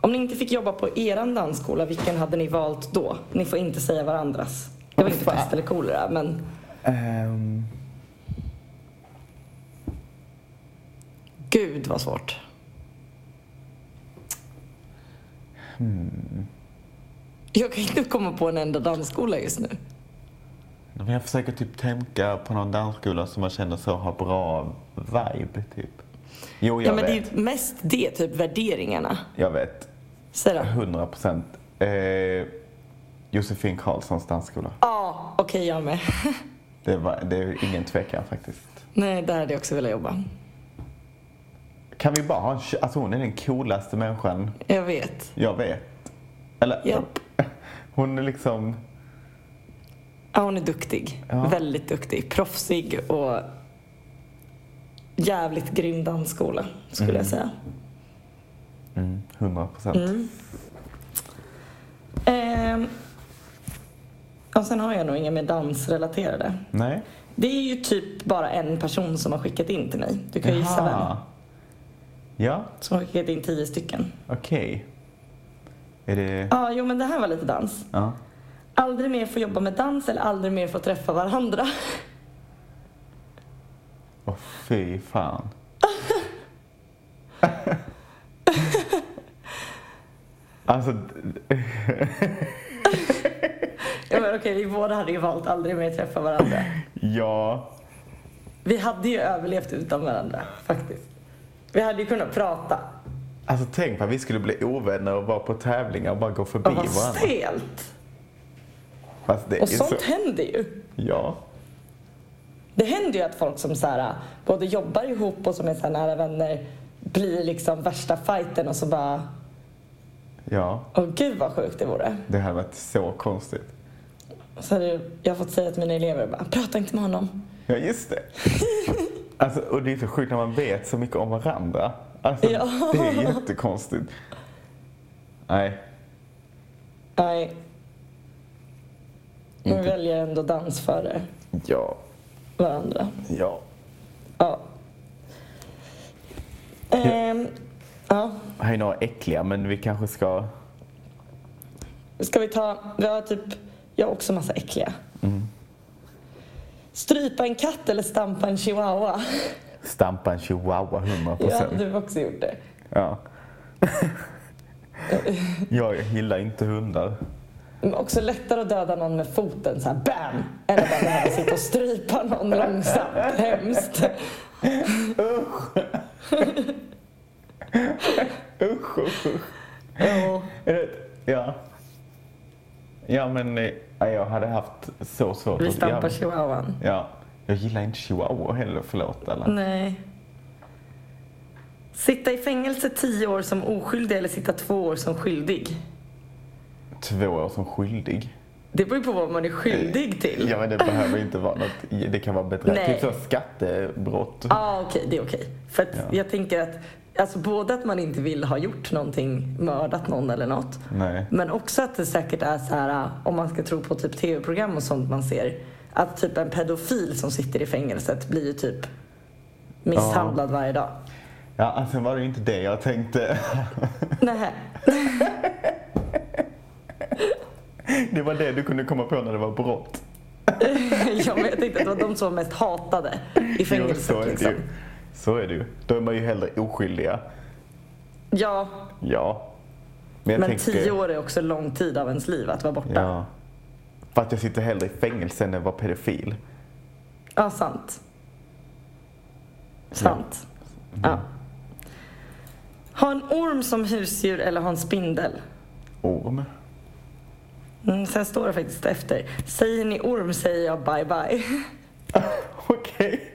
[SPEAKER 2] Om ni inte fick jobba på eran dansskola, vilken hade ni valt då? Ni får inte säga varandras. Det var inte
[SPEAKER 1] Fan.
[SPEAKER 2] pest eller kolera, men
[SPEAKER 1] Ehm,
[SPEAKER 2] gud vad svårt.
[SPEAKER 1] Hmm.
[SPEAKER 2] Jag kan inte komma på en enda dansskola just nu.
[SPEAKER 1] men jag försöker typ tänka på någon dansskola som man känner så har bra vibe, typ. Jo, jag
[SPEAKER 2] ja, men
[SPEAKER 1] vet.
[SPEAKER 2] det är mest det, typ värderingarna.
[SPEAKER 1] Jag vet.
[SPEAKER 2] Säg då.
[SPEAKER 1] 100 procent. Eh, Josefin Karlssons dansskola.
[SPEAKER 2] Ja, okej jag med.
[SPEAKER 1] Det, var, det är ingen tvekan faktiskt.
[SPEAKER 2] Nej, där hade jag också velat jobba.
[SPEAKER 1] Kan vi bara ha en... tj- Alltså hon är den coolaste människan
[SPEAKER 2] Jag vet.
[SPEAKER 1] jag vet. Eller...
[SPEAKER 2] Japp.
[SPEAKER 1] [laughs] Hon är liksom...
[SPEAKER 2] Ja, hon är duktig.
[SPEAKER 1] Ja.
[SPEAKER 2] Väldigt duktig. Proffsig och jävligt grym dansskola, skulle
[SPEAKER 1] Mm.
[SPEAKER 2] jag säga.
[SPEAKER 1] 100 procent.
[SPEAKER 2] Mm. Ehm. Och sen har jag nog inga mer dansrelaterade.
[SPEAKER 1] Nej.
[SPEAKER 2] Det är ju typ bara en person som har skickat in till mig. Du kan ju gissa
[SPEAKER 1] Jaha.
[SPEAKER 2] vem.
[SPEAKER 1] Ja,
[SPEAKER 2] Som har skickat in tio stycken.
[SPEAKER 1] okej. Är det...
[SPEAKER 2] Ja, jo men det här var lite dans.
[SPEAKER 1] Ja.
[SPEAKER 2] Aldrig mer få jobba med dans eller aldrig mer få träffa varandra. [laughs]
[SPEAKER 1] Åh fy
[SPEAKER 2] [laughs]
[SPEAKER 1] fan. alltså, d-
[SPEAKER 2] Ja, men okej, vi båda hade ju valt aldrig mer träffa varandra.
[SPEAKER 1] ja.
[SPEAKER 2] Vi hade ju överlevt utan varandra, faktiskt. Vi hade ju kunnat prata.
[SPEAKER 1] Alltså tänk på att vi skulle bli ovänner och vara på tävlingar och bara gå förbi
[SPEAKER 2] Och vad
[SPEAKER 1] varandra.
[SPEAKER 2] stelt!
[SPEAKER 1] Fast det är
[SPEAKER 2] Och sånt
[SPEAKER 1] så...
[SPEAKER 2] händer ju.
[SPEAKER 1] Ja.
[SPEAKER 2] Det händer ju att folk som så här, både jobbar ihop och som är så här nära vänner blir liksom värsta fighten och så bara,
[SPEAKER 1] Ja.
[SPEAKER 2] åh gud vad sjukt det vore.
[SPEAKER 1] Det här varit så konstigt.
[SPEAKER 2] Så hade jag fått säga till mina elever bara, prata inte med honom.
[SPEAKER 1] Ja, just
[SPEAKER 2] [laughs]
[SPEAKER 1] det. Alltså, och det är så sjukt när man vet så mycket om varandra. Alltså,
[SPEAKER 2] Ja.
[SPEAKER 1] det är jättekonstigt. Nej,
[SPEAKER 2] Nej. Man
[SPEAKER 1] Inte.
[SPEAKER 2] väljer ändå dans före
[SPEAKER 1] ja,
[SPEAKER 2] varandra.
[SPEAKER 1] ja.
[SPEAKER 2] Ja. Ehm, ja.
[SPEAKER 1] Här är några äckliga, men vi kanske ska...
[SPEAKER 2] Ska vi ta, vi har typ, jag har också massa äckliga.
[SPEAKER 1] Mm.
[SPEAKER 2] Strypa en katt eller stampa en
[SPEAKER 1] [laughs]
[SPEAKER 2] chihuahua?
[SPEAKER 1] Stampa en chihuahua 100
[SPEAKER 2] Ja,
[SPEAKER 1] procent.
[SPEAKER 2] du har också gjort det.
[SPEAKER 1] Ja. [laughs] Jag gillar inte hundar.
[SPEAKER 2] Men också lättare att döda någon med foten så här BAM! Än att bara behöva sitta och strypa någon långsamt.
[SPEAKER 1] [laughs]
[SPEAKER 2] Hemskt.
[SPEAKER 1] Usch, usch, usch.
[SPEAKER 2] Jo.
[SPEAKER 1] Är det- Ja. Ja, men eh, jag hade haft så svårt
[SPEAKER 2] Vi
[SPEAKER 1] att-
[SPEAKER 2] stampar
[SPEAKER 1] ja,
[SPEAKER 2] chihuahuan.
[SPEAKER 1] ja. Jag gillar inte chihuahua heller, förlåt alla.
[SPEAKER 2] Nej. Sitta i fängelse tio år som oskyldig eller sitta två år som skyldig?
[SPEAKER 1] Två år som skyldig.
[SPEAKER 2] Det beror ju på vad man är skyldig till.
[SPEAKER 1] Eh, Ja, men det behöver inte vara något. Det kan vara bedrägeri.
[SPEAKER 2] Nej.
[SPEAKER 1] Typ så skattebrott.
[SPEAKER 2] Ja, ah, okej, det är okej. För att
[SPEAKER 1] Ja.
[SPEAKER 2] jag tänker att, alltså både att man inte vill ha gjort någonting, mördat någon eller något.
[SPEAKER 1] Nej.
[SPEAKER 2] Men också att det säkert är så här, om man ska tro på typ tv-program och sånt man ser, att typ en pedofil som sitter i fängelset blir ju typ misshandlad varje dag.
[SPEAKER 1] Ja, alltså var det ju inte det jag tänkte.
[SPEAKER 2] Nej.
[SPEAKER 1] [laughs] Det var det du kunde komma på när det var brott.
[SPEAKER 2] [laughs] ja, men jag tänkte att det var de som var mest hatade i
[SPEAKER 1] Jo,
[SPEAKER 2] fängelset.
[SPEAKER 1] så är det
[SPEAKER 2] liksom.
[SPEAKER 1] ju. Så är det ju. Då är man ju hellre oskyldiga.
[SPEAKER 2] Ja,
[SPEAKER 1] Ja. jag
[SPEAKER 2] men tio år är också lång tid av ens liv att vara borta. Ja,
[SPEAKER 1] Ja. För att jag sitter hellre i fängelse än att vara pedofil.
[SPEAKER 2] sant. Sant. Ja. Ha en orm som husdjur eller ha en spindel?
[SPEAKER 1] Orm.
[SPEAKER 2] Mm, sen står det faktiskt efter.
[SPEAKER 1] [laughs]
[SPEAKER 2] Säger ni orm säger jag bye bye.
[SPEAKER 1] Okej.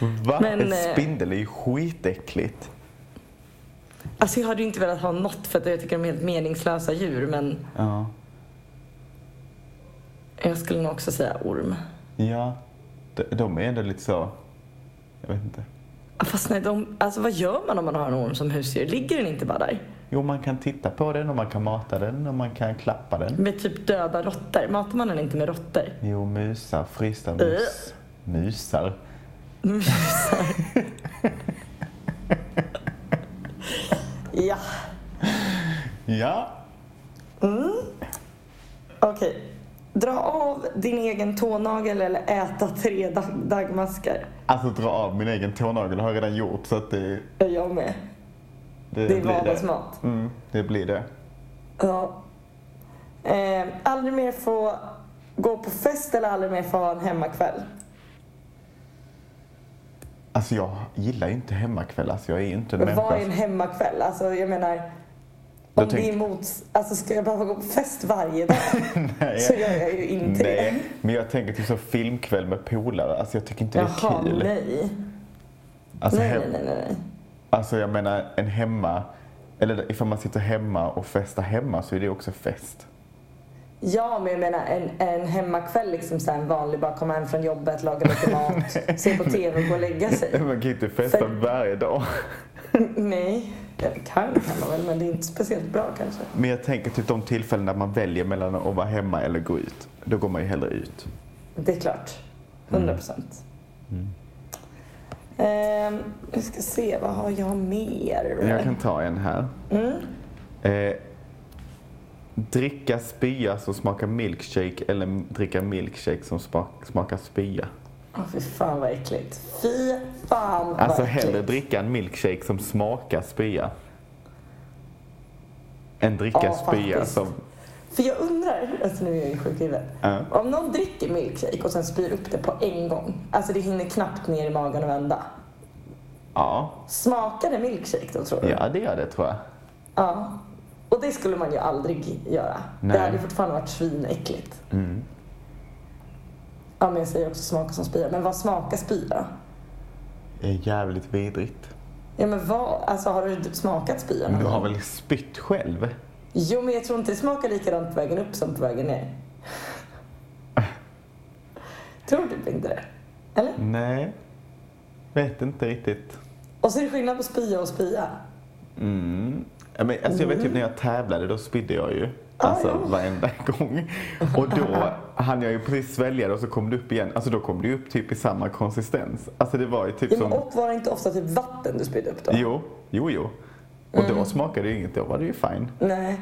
[SPEAKER 1] Va?
[SPEAKER 2] Men,
[SPEAKER 1] en
[SPEAKER 2] eh,
[SPEAKER 1] spindel är ju skitäckligt.
[SPEAKER 2] [laughs] Alltså jag hade ju inte velat ha något för att jag tycker de är helt meningslösa djur men
[SPEAKER 1] Ja.
[SPEAKER 2] jag skulle nog också säga orm.
[SPEAKER 1] Ja. De, de är ändå lite så... Jag vet inte.
[SPEAKER 2] Ah, Fast nej, de, alltså vad gör man om man har en orm som husdjur? Ligger den inte bara där?
[SPEAKER 1] Jo, man kan titta på den och man kan mata den och man kan klappa den.
[SPEAKER 2] Med typ döda råttor? Matar man den inte med råttor?
[SPEAKER 1] Jo, musar. Frysta mus. Musar.
[SPEAKER 2] Mm. [laughs] Ja.
[SPEAKER 1] Ja.
[SPEAKER 2] Okej. Dra av din egen tånagel eller äta tre dag- dagmaskar.
[SPEAKER 1] Alltså dra av min egen tånagel har jag redan gjort så att det...
[SPEAKER 2] Jag gör med. Det är vardagsmat.
[SPEAKER 1] Mm, det blir det.
[SPEAKER 2] Ja. Eh, aldrig mer få gå på fest eller aldrig mer få ha en hemmakväll.
[SPEAKER 1] Alltså jag gillar ju inte hemmakväll. Alltså jag är ju inte en
[SPEAKER 2] Men
[SPEAKER 1] människa.
[SPEAKER 2] vad är en hemmakväll? Alltså jag menar,
[SPEAKER 1] Då
[SPEAKER 2] om det är
[SPEAKER 1] tänk-
[SPEAKER 2] emot... Alltså ska jag behöva gå på fest
[SPEAKER 1] [laughs]
[SPEAKER 2] varje dag
[SPEAKER 1] Nej.
[SPEAKER 2] så gör jag ju inte det.
[SPEAKER 1] Nej, men jag tänker typ så filmkväll med polare. Alltså jag tycker inte det
[SPEAKER 2] Jaha,
[SPEAKER 1] är kul.
[SPEAKER 2] nej.
[SPEAKER 1] Alltså,
[SPEAKER 2] Nej,
[SPEAKER 1] hem,
[SPEAKER 2] nej, nej, nej.
[SPEAKER 1] alltså jag menar en hemma, eller ifall man sitter hemma och festar hemma så är det också fest.
[SPEAKER 2] Ja, men jag menar en, en hemmakväll, liksom så här, en vanlig, bara komma hem från jobbet, laga
[SPEAKER 1] [laughs]
[SPEAKER 2] lite mat, se på TV och gå och lägga sig.
[SPEAKER 1] Man kan ju inte festa
[SPEAKER 2] Alltså, För-
[SPEAKER 1] varje dag.
[SPEAKER 2] Nej, jag kan kan man väl, men det är inte speciellt bra kanske.
[SPEAKER 1] Men jag tänker typ de tillfällen där man väljer mellan att vara hemma eller gå ut. Då går man ju hellre ut.
[SPEAKER 2] Det är klart.
[SPEAKER 1] Mm.
[SPEAKER 2] 100 procent. Mm. Ehm, vi ska se, vad har jag mer? Mm.
[SPEAKER 1] Jag kan ta en här. Eh, dricka spya som smakar milkshake eller dricka milkshake som smak, smakar spya.
[SPEAKER 2] Åh, fy fan vad äckligt. Fy fan vad
[SPEAKER 1] Alltså
[SPEAKER 2] äckligt.
[SPEAKER 1] hellre dricka en milkshake som smakar spya. Än dricka
[SPEAKER 2] Ja,
[SPEAKER 1] spya
[SPEAKER 2] faktiskt.
[SPEAKER 1] som...
[SPEAKER 2] För jag undrar, alltså nu är jag ju sjuk i huvudet.
[SPEAKER 1] Ja.
[SPEAKER 2] Om någon dricker milkshake och sen spyr upp det på en gång, alltså det hinner knappt ner i magen och vända.
[SPEAKER 1] Ja,
[SPEAKER 2] Smakar det milkshake då tror du?
[SPEAKER 1] ja det gör det tror jag.
[SPEAKER 2] Ja. Och det skulle man ju aldrig göra.
[SPEAKER 1] Nej.
[SPEAKER 2] Det hade ju fortfarande varit svinäckligt.
[SPEAKER 1] Mm.
[SPEAKER 2] Ja, men jag säger också smaka som spya. Men vad smakar spya?
[SPEAKER 1] Det är jävligt vidrigt.
[SPEAKER 2] Ja, men vad? Alltså har du smakat spya någon
[SPEAKER 1] Du har
[SPEAKER 2] gång?
[SPEAKER 1] väl spytt själv?
[SPEAKER 2] Jo, men jag tror inte det smakar likadant på vägen upp som på
[SPEAKER 1] [laughs]
[SPEAKER 2] vägen ner. tror du inte det? Eller?
[SPEAKER 1] Nej. Vet inte riktigt.
[SPEAKER 2] Och så är det skillnad på spya och spya.
[SPEAKER 1] Mm. Ja, Men, alltså, jag vet typ när jag tävlade då spydde jag ju. Alltså
[SPEAKER 2] Ah, ja.
[SPEAKER 1] varenda [laughs] gång. Och då hann jag ju precis svälja det och så kom det upp igen. Alltså då kom det ju upp typ i samma konsistens. Alltså det var ju typ
[SPEAKER 2] Ja, men,
[SPEAKER 1] som...
[SPEAKER 2] och var det inte ofta typ vatten du spydde upp då? Mm.
[SPEAKER 1] Jo, jo, jo. Och då smakade det ju inget, då var det ju fine. [laughs]
[SPEAKER 2] Nej.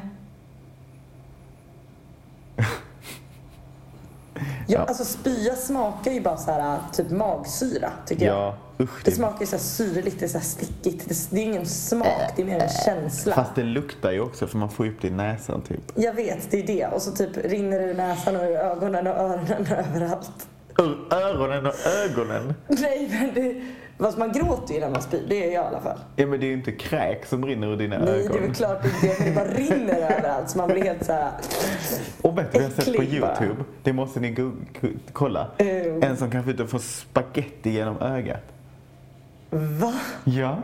[SPEAKER 2] ja,
[SPEAKER 1] Ja.
[SPEAKER 2] alltså spya smakar ju bara så här typ magsyra tycker jag.
[SPEAKER 1] Ja, usch.
[SPEAKER 2] Det
[SPEAKER 1] Det
[SPEAKER 2] smakar ju så här syrligt, det är så här stickigt. Det, det är ingen smak, det är mer en känsla.
[SPEAKER 1] Äh, fast det luktar ju också för man får ju upp det i näsan typ.
[SPEAKER 2] Jag vet, det är det. Och så typ rinner det ur näsan och ur ögonen och öronen [laughs] och överallt.
[SPEAKER 1] Ur öronen och ögonen!
[SPEAKER 2] Nej, men det... Fast man gråter ju när man spyr, det gör jag i alla fall.
[SPEAKER 1] Ja men det är ju inte kräk som rinner ur dina
[SPEAKER 2] Nej, det är
[SPEAKER 1] ögon.
[SPEAKER 2] väl klart inte det, men det
[SPEAKER 1] [laughs]
[SPEAKER 2] bara rinner överallt så man blir helt så här...
[SPEAKER 1] Och vet du vad jag har sett på
[SPEAKER 2] Äcklig bara.
[SPEAKER 1] Youtube? Det måste ni go- go- kolla.
[SPEAKER 2] Ew.
[SPEAKER 1] En som kanske inte får spaghetti genom ögat.
[SPEAKER 2] Va?
[SPEAKER 1] Ja.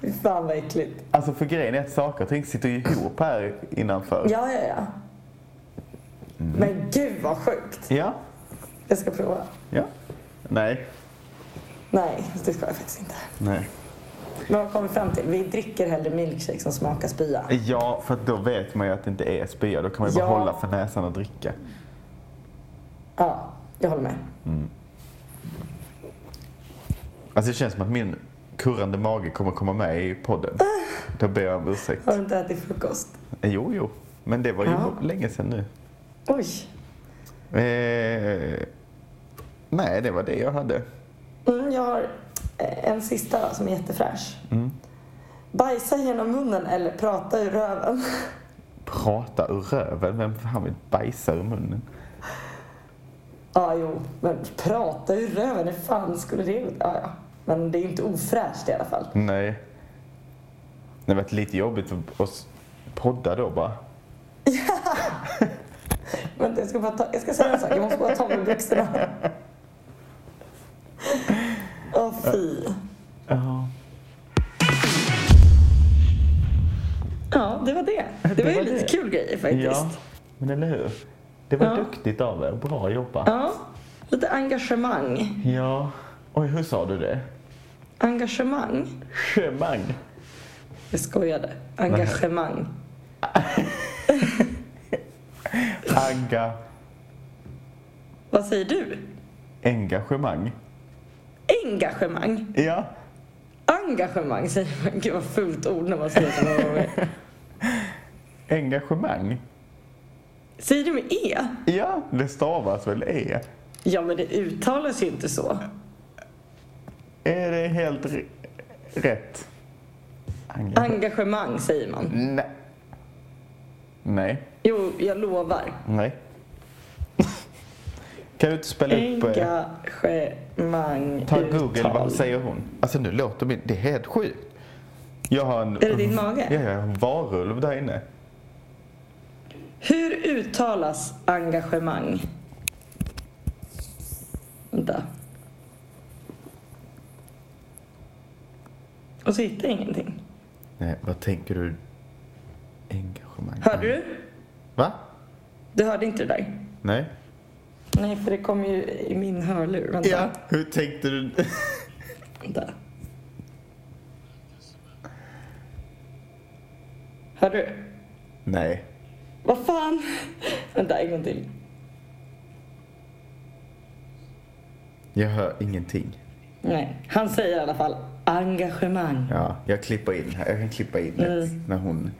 [SPEAKER 2] Fy Fan vad äckligt.
[SPEAKER 1] Alltså för grejen är att saker och ting sitter ju ihop här innanför.
[SPEAKER 2] Ja, ja, ja. Men gud vad sjukt.
[SPEAKER 1] Ja.
[SPEAKER 2] Jag ska prova.
[SPEAKER 1] Ja. Nej.
[SPEAKER 2] Nej, det ska jag faktiskt inte.
[SPEAKER 1] Nej.
[SPEAKER 2] Men vad kommer vi fram till? Vi dricker hellre milkshake som smakar spya.
[SPEAKER 1] Ja, för att då vet man ju att det inte är spya. Då kan man ju bara
[SPEAKER 2] Ja.
[SPEAKER 1] hålla för näsan och dricka.
[SPEAKER 2] Ja, jag håller med.
[SPEAKER 1] Alltså det känns som att min kurrande mage kommer komma med i podden. Då ber jag om ursäkt.
[SPEAKER 2] Har du inte ätit frukost?
[SPEAKER 1] Jo, jo. Men det var ju
[SPEAKER 2] Ja.
[SPEAKER 1] länge sedan nu.
[SPEAKER 2] Oj.
[SPEAKER 1] Eh, nej, det var det jag hade.
[SPEAKER 2] Mm, jag har eh, en sista då, som är jättefräsch. Bajsa genom munnen eller prata ur röven? [laughs]
[SPEAKER 1] Prata ur röven. Vem fan vill bajsa ur munnen?
[SPEAKER 2] Ja, jo, men prata ur röven, hur fan skulle det gå? Ja, ja. Men det är ju inte ofräscht i alla fall.
[SPEAKER 1] Nej. Det har varit lite jobbigt att att podda då bara.
[SPEAKER 2] Vänta, jag ska, bara ta, jag ska säga en sak. Jag måste bara ta med mig byxorna. faktiskt.
[SPEAKER 1] Ja, men eller hur? Det var
[SPEAKER 2] Ja.
[SPEAKER 1] duktigt av er. Bra jobbat.
[SPEAKER 2] Ja, lite engagemang.
[SPEAKER 1] Ja. Oj, hur sa du det?
[SPEAKER 2] Engagemang?
[SPEAKER 1] Schemang.
[SPEAKER 2] Jag skojade. Engagemang.
[SPEAKER 1] Agga.
[SPEAKER 2] Vad säger du?
[SPEAKER 1] Engagemang.
[SPEAKER 2] Engagemang?
[SPEAKER 1] Ja.
[SPEAKER 2] Engagemang säger man. Gud vad fult ord när man säger så många gånger.
[SPEAKER 1] Engagemang.
[SPEAKER 2] Säger du med E?
[SPEAKER 1] Ja, det stavas väl E?
[SPEAKER 2] Ja, men det uttalas ju inte så.
[SPEAKER 1] Är det helt r- rätt? Engagemang.
[SPEAKER 2] Engagemang säger man.
[SPEAKER 1] Nej. Nej.
[SPEAKER 2] Jo, jag lovar.
[SPEAKER 1] Nej. [laughs] Kan du inte spela upp... eh,
[SPEAKER 2] Engagemang.
[SPEAKER 1] Ta Google,
[SPEAKER 2] uttal.
[SPEAKER 1] vad säger hon? Alltså nu låter min... Det är helt sjukt. Jag har en...
[SPEAKER 2] Är det din
[SPEAKER 1] Ja, jag
[SPEAKER 2] mage?
[SPEAKER 1] har en varulv där inne.
[SPEAKER 2] Hur uttalas engagemang? Vänta. Och så hittar jag ingenting.
[SPEAKER 1] Nej, vad tänker du? Engagemang.
[SPEAKER 2] Hörde du?
[SPEAKER 1] Va?
[SPEAKER 2] Du hörde inte det där?
[SPEAKER 1] Nej.
[SPEAKER 2] Nej, för det kom ju i min hörlur. Vänta.
[SPEAKER 1] Ja, hur tänkte du? [laughs]
[SPEAKER 2] Vänta. Hörde du?
[SPEAKER 1] Nej.
[SPEAKER 2] Vad fan? Vänta, en gång till.
[SPEAKER 1] Jag hör ingenting.
[SPEAKER 2] Nej, han säger i alla fall engagemang.
[SPEAKER 1] Ja, jag klipper in. här. Jag kan klippa in
[SPEAKER 2] Mm.
[SPEAKER 1] ett när hon...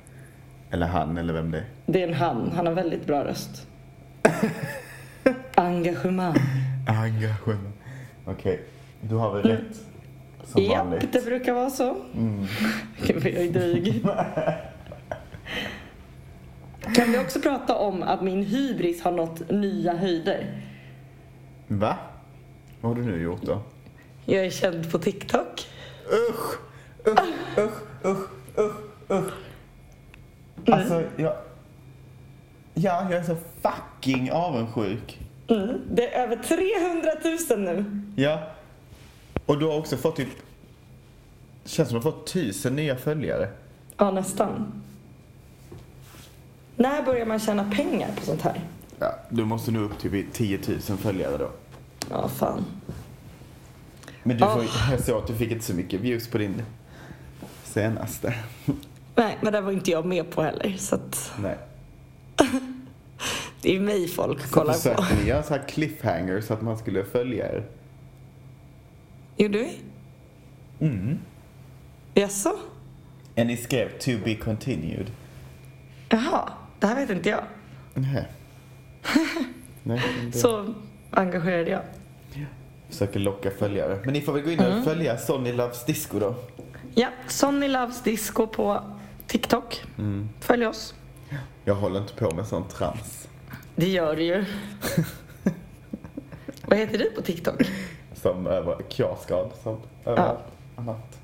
[SPEAKER 1] Eller han, eller vem det är.
[SPEAKER 2] Det är en han. Han har väldigt
[SPEAKER 1] [laughs]
[SPEAKER 2] bra röst. Engagemang.
[SPEAKER 1] Engagemang. Okej, du har väl rätt? Som
[SPEAKER 2] Japp,
[SPEAKER 1] vanligt. Mm.
[SPEAKER 2] det brukar vara så. Gud, vad jag är dryg.
[SPEAKER 1] [laughs]
[SPEAKER 2] Kan vi också prata om att min hybris har nått nya höjder?
[SPEAKER 1] Va? Vad har du nu gjort då?
[SPEAKER 2] Jag är känd på TikTok.
[SPEAKER 1] Usch! Usch, usch, usch, usch, usch.
[SPEAKER 2] Mm.
[SPEAKER 1] Alltså, jag... Ja, jag är så fucking avundsjuk.
[SPEAKER 2] Mm. Det är över 300 000 nu.
[SPEAKER 1] Ja. Och du har också fått typ... Känns som att du har fått tusen nya följare.
[SPEAKER 2] Ja, nästan. När börjar man tjäna pengar på sånt här?
[SPEAKER 1] Ja, du måste nu upp till 10 000 följare då.
[SPEAKER 2] Ja, fan.
[SPEAKER 1] Men du får,
[SPEAKER 2] Ah.
[SPEAKER 1] jag såg att du fick inte så mycket views på din senaste.
[SPEAKER 2] Nej, men det var inte jag med på heller. Så att
[SPEAKER 1] Nej.
[SPEAKER 2] det är mig folk
[SPEAKER 1] Så
[SPEAKER 2] kollar på.
[SPEAKER 1] försökte ni göra så här cliffhangers så att man skulle följa er.
[SPEAKER 2] Gjorde vi?
[SPEAKER 1] Mm.
[SPEAKER 2] Jaså?
[SPEAKER 1] Och ni skrev to be continued.
[SPEAKER 2] Jaha, det här vet inte jag. [laughs]
[SPEAKER 1] Nej. Nej, inte.
[SPEAKER 2] Så engagerade jag.
[SPEAKER 1] Försöker locka följare. Men ni får väl gå in
[SPEAKER 2] Mm.
[SPEAKER 1] och följa Sonny Loves Disco då.
[SPEAKER 2] Ja, Sonny Loves Disco på TikTok. Följ oss.
[SPEAKER 1] Mm. Jag håller inte på med sånt trams.
[SPEAKER 2] Det gör du ju. [laughs] Vad heter du på TikTok?
[SPEAKER 1] Som över kiaskad, som över annat.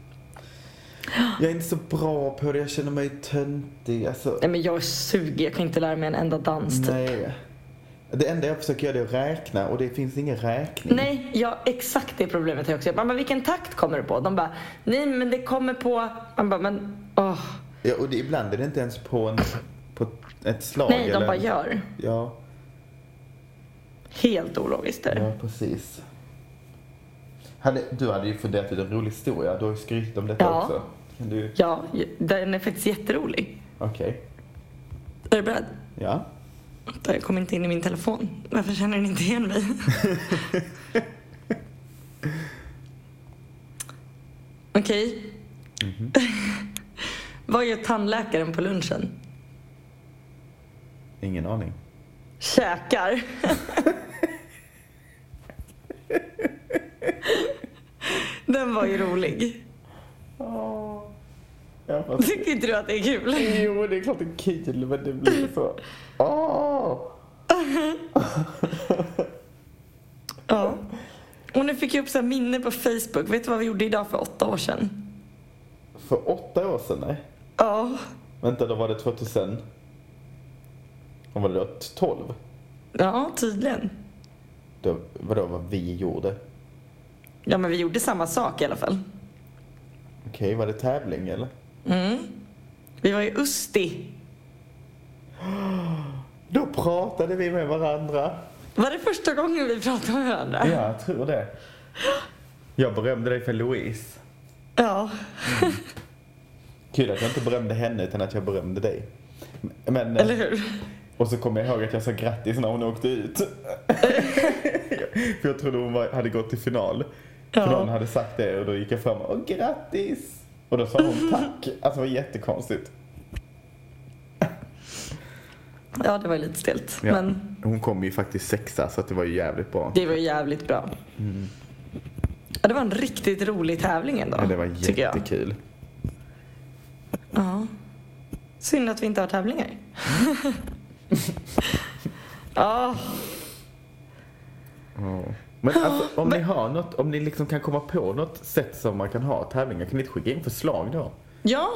[SPEAKER 1] Jag är inte så bra på det, jag känner mig töntig. Alltså,
[SPEAKER 2] Nej men jag är sugig, jag kan inte lära mig en enda dans typ. Nej,
[SPEAKER 1] nej. Det enda jag försöker göra är att räkna och det finns ingen räkning.
[SPEAKER 2] nej ja, exakt det problemet har jag också. Jag bara, men vilken takt kommer det på? De bara, nej men det kommer på... Man bara, men åh.
[SPEAKER 1] Ja, och det, ibland är det inte ens på, en, på ett slag.
[SPEAKER 2] Nej, de
[SPEAKER 1] eller-
[SPEAKER 2] bara gör.
[SPEAKER 1] Ja,
[SPEAKER 2] Helt ologiskt är det.
[SPEAKER 1] ja precis. Hade, du hade ju funderat ut en rolig historia. Du har ju skrytit om detta
[SPEAKER 2] Ja.
[SPEAKER 1] också. Kan du...
[SPEAKER 2] Ja, den är faktiskt jätterolig.
[SPEAKER 1] Okej.
[SPEAKER 2] Är du beredd?
[SPEAKER 1] Ja.
[SPEAKER 2] Vänta, jag kom inte in i min telefon. Varför känner den inte igen [laughs] mig? Okej. Mhm. Vad gör tandläkaren på lunchen?
[SPEAKER 1] Ingen aning.
[SPEAKER 2] [laughs] Käkar. den var ju rolig.
[SPEAKER 1] Ja, fast...
[SPEAKER 2] Tycker inte du att det är kul?
[SPEAKER 1] Jo, det är klart det är kul, men det blir så... Åh!
[SPEAKER 2] Ja. Och nu fick jag upp så här minne på Facebook. Vet du vad vi gjorde idag för åtta år sedan?
[SPEAKER 1] För åtta år sedan, nej.
[SPEAKER 2] Ja.
[SPEAKER 1] Vänta, då var det 2000... Vad var det då? 12?
[SPEAKER 2] Ja, tydligen.
[SPEAKER 1] Då, vadå, vad vi gjorde?
[SPEAKER 2] Ja, men vi gjorde samma sak i alla fall.
[SPEAKER 1] Okej, var det tävling eller?
[SPEAKER 2] Mm. Vi var i Usti.
[SPEAKER 1] Då pratade vi med varandra.
[SPEAKER 2] Var det första gången vi pratade med varandra?
[SPEAKER 1] Ja, jag tror det. Jag berömde dig för Louise.
[SPEAKER 2] Ja.
[SPEAKER 1] Kul att jag inte berömde henne utan att jag berömde dig. Men, eh,
[SPEAKER 2] Eller hur?
[SPEAKER 1] Och så kommer jag ihåg att jag sa grattis när hon åkte ut. [laughs] för jag trodde hon var, hade gått till final. För någon
[SPEAKER 2] Ja.
[SPEAKER 1] hade sagt det och då gick jag fram och "Åh, grattis. Och då sa
[SPEAKER 2] [laughs]
[SPEAKER 1] hon tack. Alltså det var jättekonstigt.
[SPEAKER 2] ja, det var ju lite stelt.
[SPEAKER 1] Ja.
[SPEAKER 2] Men
[SPEAKER 1] Hon kom ju faktiskt sexa så att det var ju jävligt bra.
[SPEAKER 2] det var ju jävligt bra. Ja, det var en riktigt rolig tävling ändå.
[SPEAKER 1] Mm. Ja, det var
[SPEAKER 2] tycker jag.
[SPEAKER 1] jättekul.
[SPEAKER 2] Ja. Synd att vi inte
[SPEAKER 1] [laughs]
[SPEAKER 2] har tävlingar. ja,
[SPEAKER 1] Ja. Men alltså, om ni har något, om ni liksom kan komma på något sätt som man kan ha tävlingar, kan ni inte skicka in förslag då?
[SPEAKER 2] ja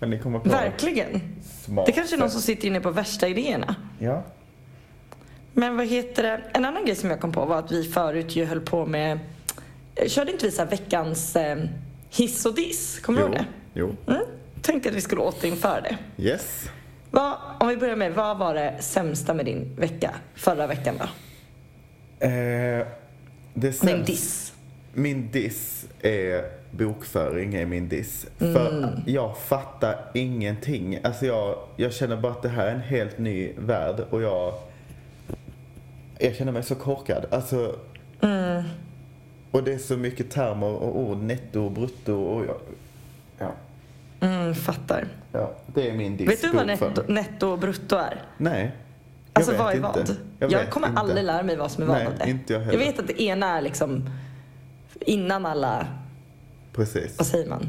[SPEAKER 1] Kan ni komma på något
[SPEAKER 2] verkligen.
[SPEAKER 1] smart
[SPEAKER 2] Det kanske är någon som
[SPEAKER 1] sätt?
[SPEAKER 2] sitter inne på värsta idéerna.
[SPEAKER 1] Ja.
[SPEAKER 2] Men vad heter det? En annan grej som jag kom på var att vi förut ju höll på med... eh, Körde inte vi så här veckans eh, hiss och diss? Kommer du ihåg
[SPEAKER 1] Jo.
[SPEAKER 2] det?
[SPEAKER 1] jo.
[SPEAKER 2] Mm? Tänkte att vi skulle återinföra det.
[SPEAKER 1] Yes.
[SPEAKER 2] Vad, om vi börjar med, vad var det sämsta med din vecka? Förra veckan då?
[SPEAKER 1] Eh, det sämsta-
[SPEAKER 2] Din diss.
[SPEAKER 1] Min diss är bokföring är min diss.
[SPEAKER 2] Mm.
[SPEAKER 1] För jag fattar ingenting. Alltså jag, jag känner bara att det här är en helt ny värld och jag, jag känner mig så korkad. Alltså,
[SPEAKER 2] Mm.
[SPEAKER 1] Och det är så mycket termer och ord, netto och brutto och jag, ja,
[SPEAKER 2] Mm, fattar.
[SPEAKER 1] ja, det är min diss.
[SPEAKER 2] Vet du vad
[SPEAKER 1] bokföring.
[SPEAKER 2] netto, netto och brutto är?
[SPEAKER 1] Nej. jag
[SPEAKER 2] Alltså
[SPEAKER 1] vet
[SPEAKER 2] vad är
[SPEAKER 1] inte.
[SPEAKER 2] vad? Jag,
[SPEAKER 1] Jag, vet
[SPEAKER 2] kommer
[SPEAKER 1] inte.
[SPEAKER 2] aldrig lära mig vad som är vad
[SPEAKER 1] Nej,
[SPEAKER 2] av det.
[SPEAKER 1] inte jag heller.
[SPEAKER 2] jag vet att det ena är liksom innan alla,
[SPEAKER 1] Precis.
[SPEAKER 2] vad säger man,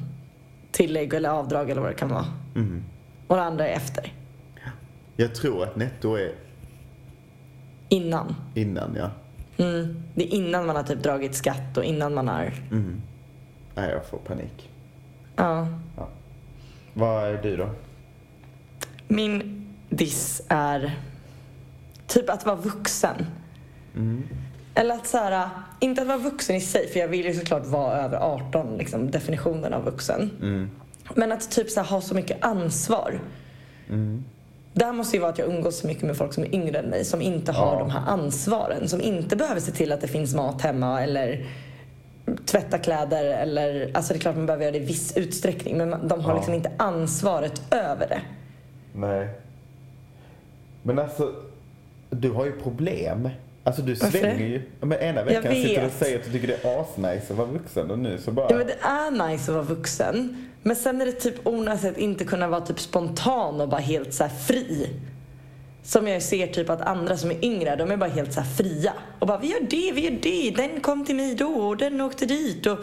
[SPEAKER 2] tillägg eller avdrag eller vad det kan vara.
[SPEAKER 1] Mm.
[SPEAKER 2] Och det andra är efter.
[SPEAKER 1] Jag tror att netto är
[SPEAKER 2] Innan.
[SPEAKER 1] innan, ja.
[SPEAKER 2] Mm. Det är innan man har typ dragit skatt och innan man har...
[SPEAKER 1] Mm. Nej, jag får panik.
[SPEAKER 2] Ja.
[SPEAKER 1] Vad är du då?
[SPEAKER 2] Min diss är typ att vara vuxen.
[SPEAKER 1] Mm.
[SPEAKER 2] Eller att så här, inte att vara vuxen i sig, för jag vill ju såklart vara över 18, liksom, definitionen av vuxen.
[SPEAKER 1] Mm.
[SPEAKER 2] Men att typ så här, ha så mycket ansvar.
[SPEAKER 1] Mm.
[SPEAKER 2] Det här måste ju vara att jag umgås så mycket med folk som är yngre än mig, som inte har
[SPEAKER 1] Ja.
[SPEAKER 2] de här ansvaren. Som inte behöver se till att det finns mat hemma eller tvätta kläder eller... Alltså det är klart man behöver göra det i viss utsträckning men man- de har
[SPEAKER 1] Ja.
[SPEAKER 2] liksom inte ansvaret över det.
[SPEAKER 1] Nej. Men alltså, du har ju problem. Alltså du
[SPEAKER 2] Varför
[SPEAKER 1] svänger
[SPEAKER 2] det?
[SPEAKER 1] ju. Ja, Men ena veckan
[SPEAKER 2] vet.
[SPEAKER 1] sitter du och säger att du tycker det är asnice att vara vuxen och nu så bara...
[SPEAKER 2] Ja men det är nice att vara vuxen. Men sen är det typ onajs att inte kunna vara typ spontan och bara helt så här fri. Som jag ser typ att andra som är yngre, de är bara helt så här fria. Och bara vi gör det, vi gör det, den kom till mig då och den åkte dit och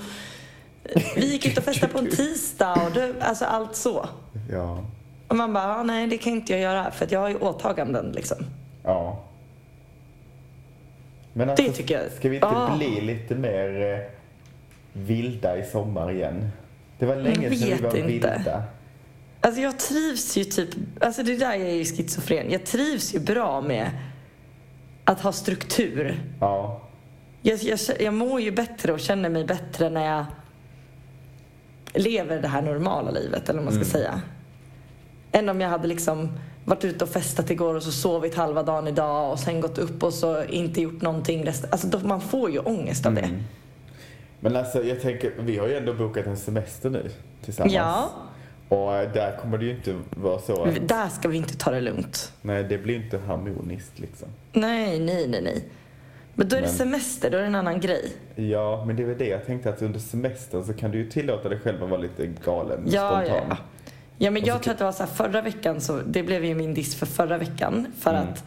[SPEAKER 2] vi gick ut och festade på en tisdag och det, alltså allt så.
[SPEAKER 1] Ja.
[SPEAKER 2] Och man bara, ah, nej det kan inte jag göra för att jag har ju åtaganden liksom.
[SPEAKER 1] Ja. Men alltså,
[SPEAKER 2] tycker jag-
[SPEAKER 1] ska vi inte
[SPEAKER 2] Ah.
[SPEAKER 1] bli lite mer eh, vilda i sommar igen? Det var länge sedan vi
[SPEAKER 2] vet
[SPEAKER 1] var
[SPEAKER 2] inte.
[SPEAKER 1] vilda.
[SPEAKER 2] Alltså jag trivs ju typ, alltså det där jag är ju schizofren. Jag trivs ju bra med att ha struktur.
[SPEAKER 1] Ja.
[SPEAKER 2] Jag, jag, jag mår ju bättre och känner mig bättre när jag lever det här normala livet, eller vad man ska säga. Än om jag hade liksom varit ute och festat igår och så sovit halva dagen idag och sen gått upp och så inte gjort någonting resten. Alltså då, man får ju ångest av det.
[SPEAKER 1] Men alltså jag tänker, vi har ju ändå bokat en semester nu tillsammans.
[SPEAKER 2] Ja.
[SPEAKER 1] Och eh, där kommer det ju inte vara så att,
[SPEAKER 2] Där ska vi inte ta det lugnt.
[SPEAKER 1] nej det blir inte harmoniskt liksom.
[SPEAKER 2] Nej, nej, nej, nej. Men då är det
[SPEAKER 1] Men-
[SPEAKER 2] semester, då är det en annan grej.
[SPEAKER 1] Ja, men det är väl det jag tänkte att under semestern så kan du ju tillåta dig själv att vara lite galen och
[SPEAKER 2] Ja, ja,
[SPEAKER 1] spontan.
[SPEAKER 2] ja. ja men
[SPEAKER 1] Och så
[SPEAKER 2] jag tror att det var så här, förra veckan, så, det blev ju min diss för förra veckan. För
[SPEAKER 1] Mm.
[SPEAKER 2] att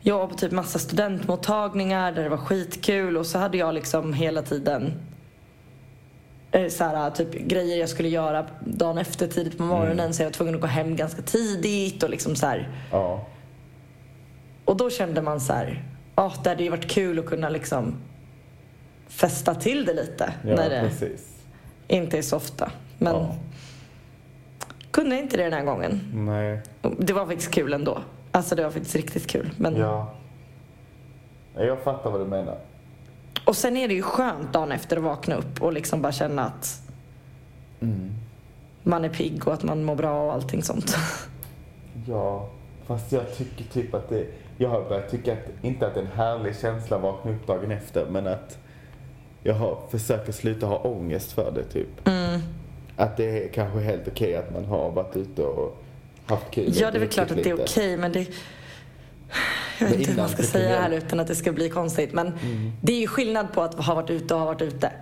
[SPEAKER 2] jag var på typ massa studentmottagningar där det var skitkul och så hade jag liksom hela tiden eh, så här, typ grejer jag skulle göra dagen efter tidigt på morgonen
[SPEAKER 1] Mm.
[SPEAKER 2] så jag var tvungen att gå hem ganska tidigt och liksom så här.
[SPEAKER 1] ja.
[SPEAKER 2] Och då kände man så här, ah, det hade ju varit kul att kunna liksom festa till det lite
[SPEAKER 1] Ja,
[SPEAKER 2] när det
[SPEAKER 1] precis.
[SPEAKER 2] inte är så ofta. Men
[SPEAKER 1] Ja.
[SPEAKER 2] kunde inte det den här gången.
[SPEAKER 1] Nej.
[SPEAKER 2] Det var faktiskt kul ändå. Alltså det var faktiskt riktigt kul. Men...
[SPEAKER 1] Ja. Nej, Jag fattar vad du menar.
[SPEAKER 2] Och sen är det ju skönt dagen efter att vakna upp och liksom bara känna att
[SPEAKER 1] Mm.
[SPEAKER 2] man är pigg och att man mår bra och allting sånt.
[SPEAKER 1] Ja. Fast jag tycker typ att det... Jag har börjat tycka att, inte att det är en härlig känsla att vakna upp dagen efter, men att jag har, försöker sluta ha ångest för det typ. Att det är kanske helt okej att man har varit ute och haft kul. och
[SPEAKER 2] Ja, det är väl
[SPEAKER 1] druckit
[SPEAKER 2] klart att det är
[SPEAKER 1] lite.
[SPEAKER 2] okej, men det... Jag vet
[SPEAKER 1] Men
[SPEAKER 2] inte hur
[SPEAKER 1] innan Mm.
[SPEAKER 2] man ska
[SPEAKER 1] det kan
[SPEAKER 2] säga
[SPEAKER 1] göra.
[SPEAKER 2] här utan att det ska bli konstigt. Men det är ju skillnad på att ha varit ute och ha varit ute.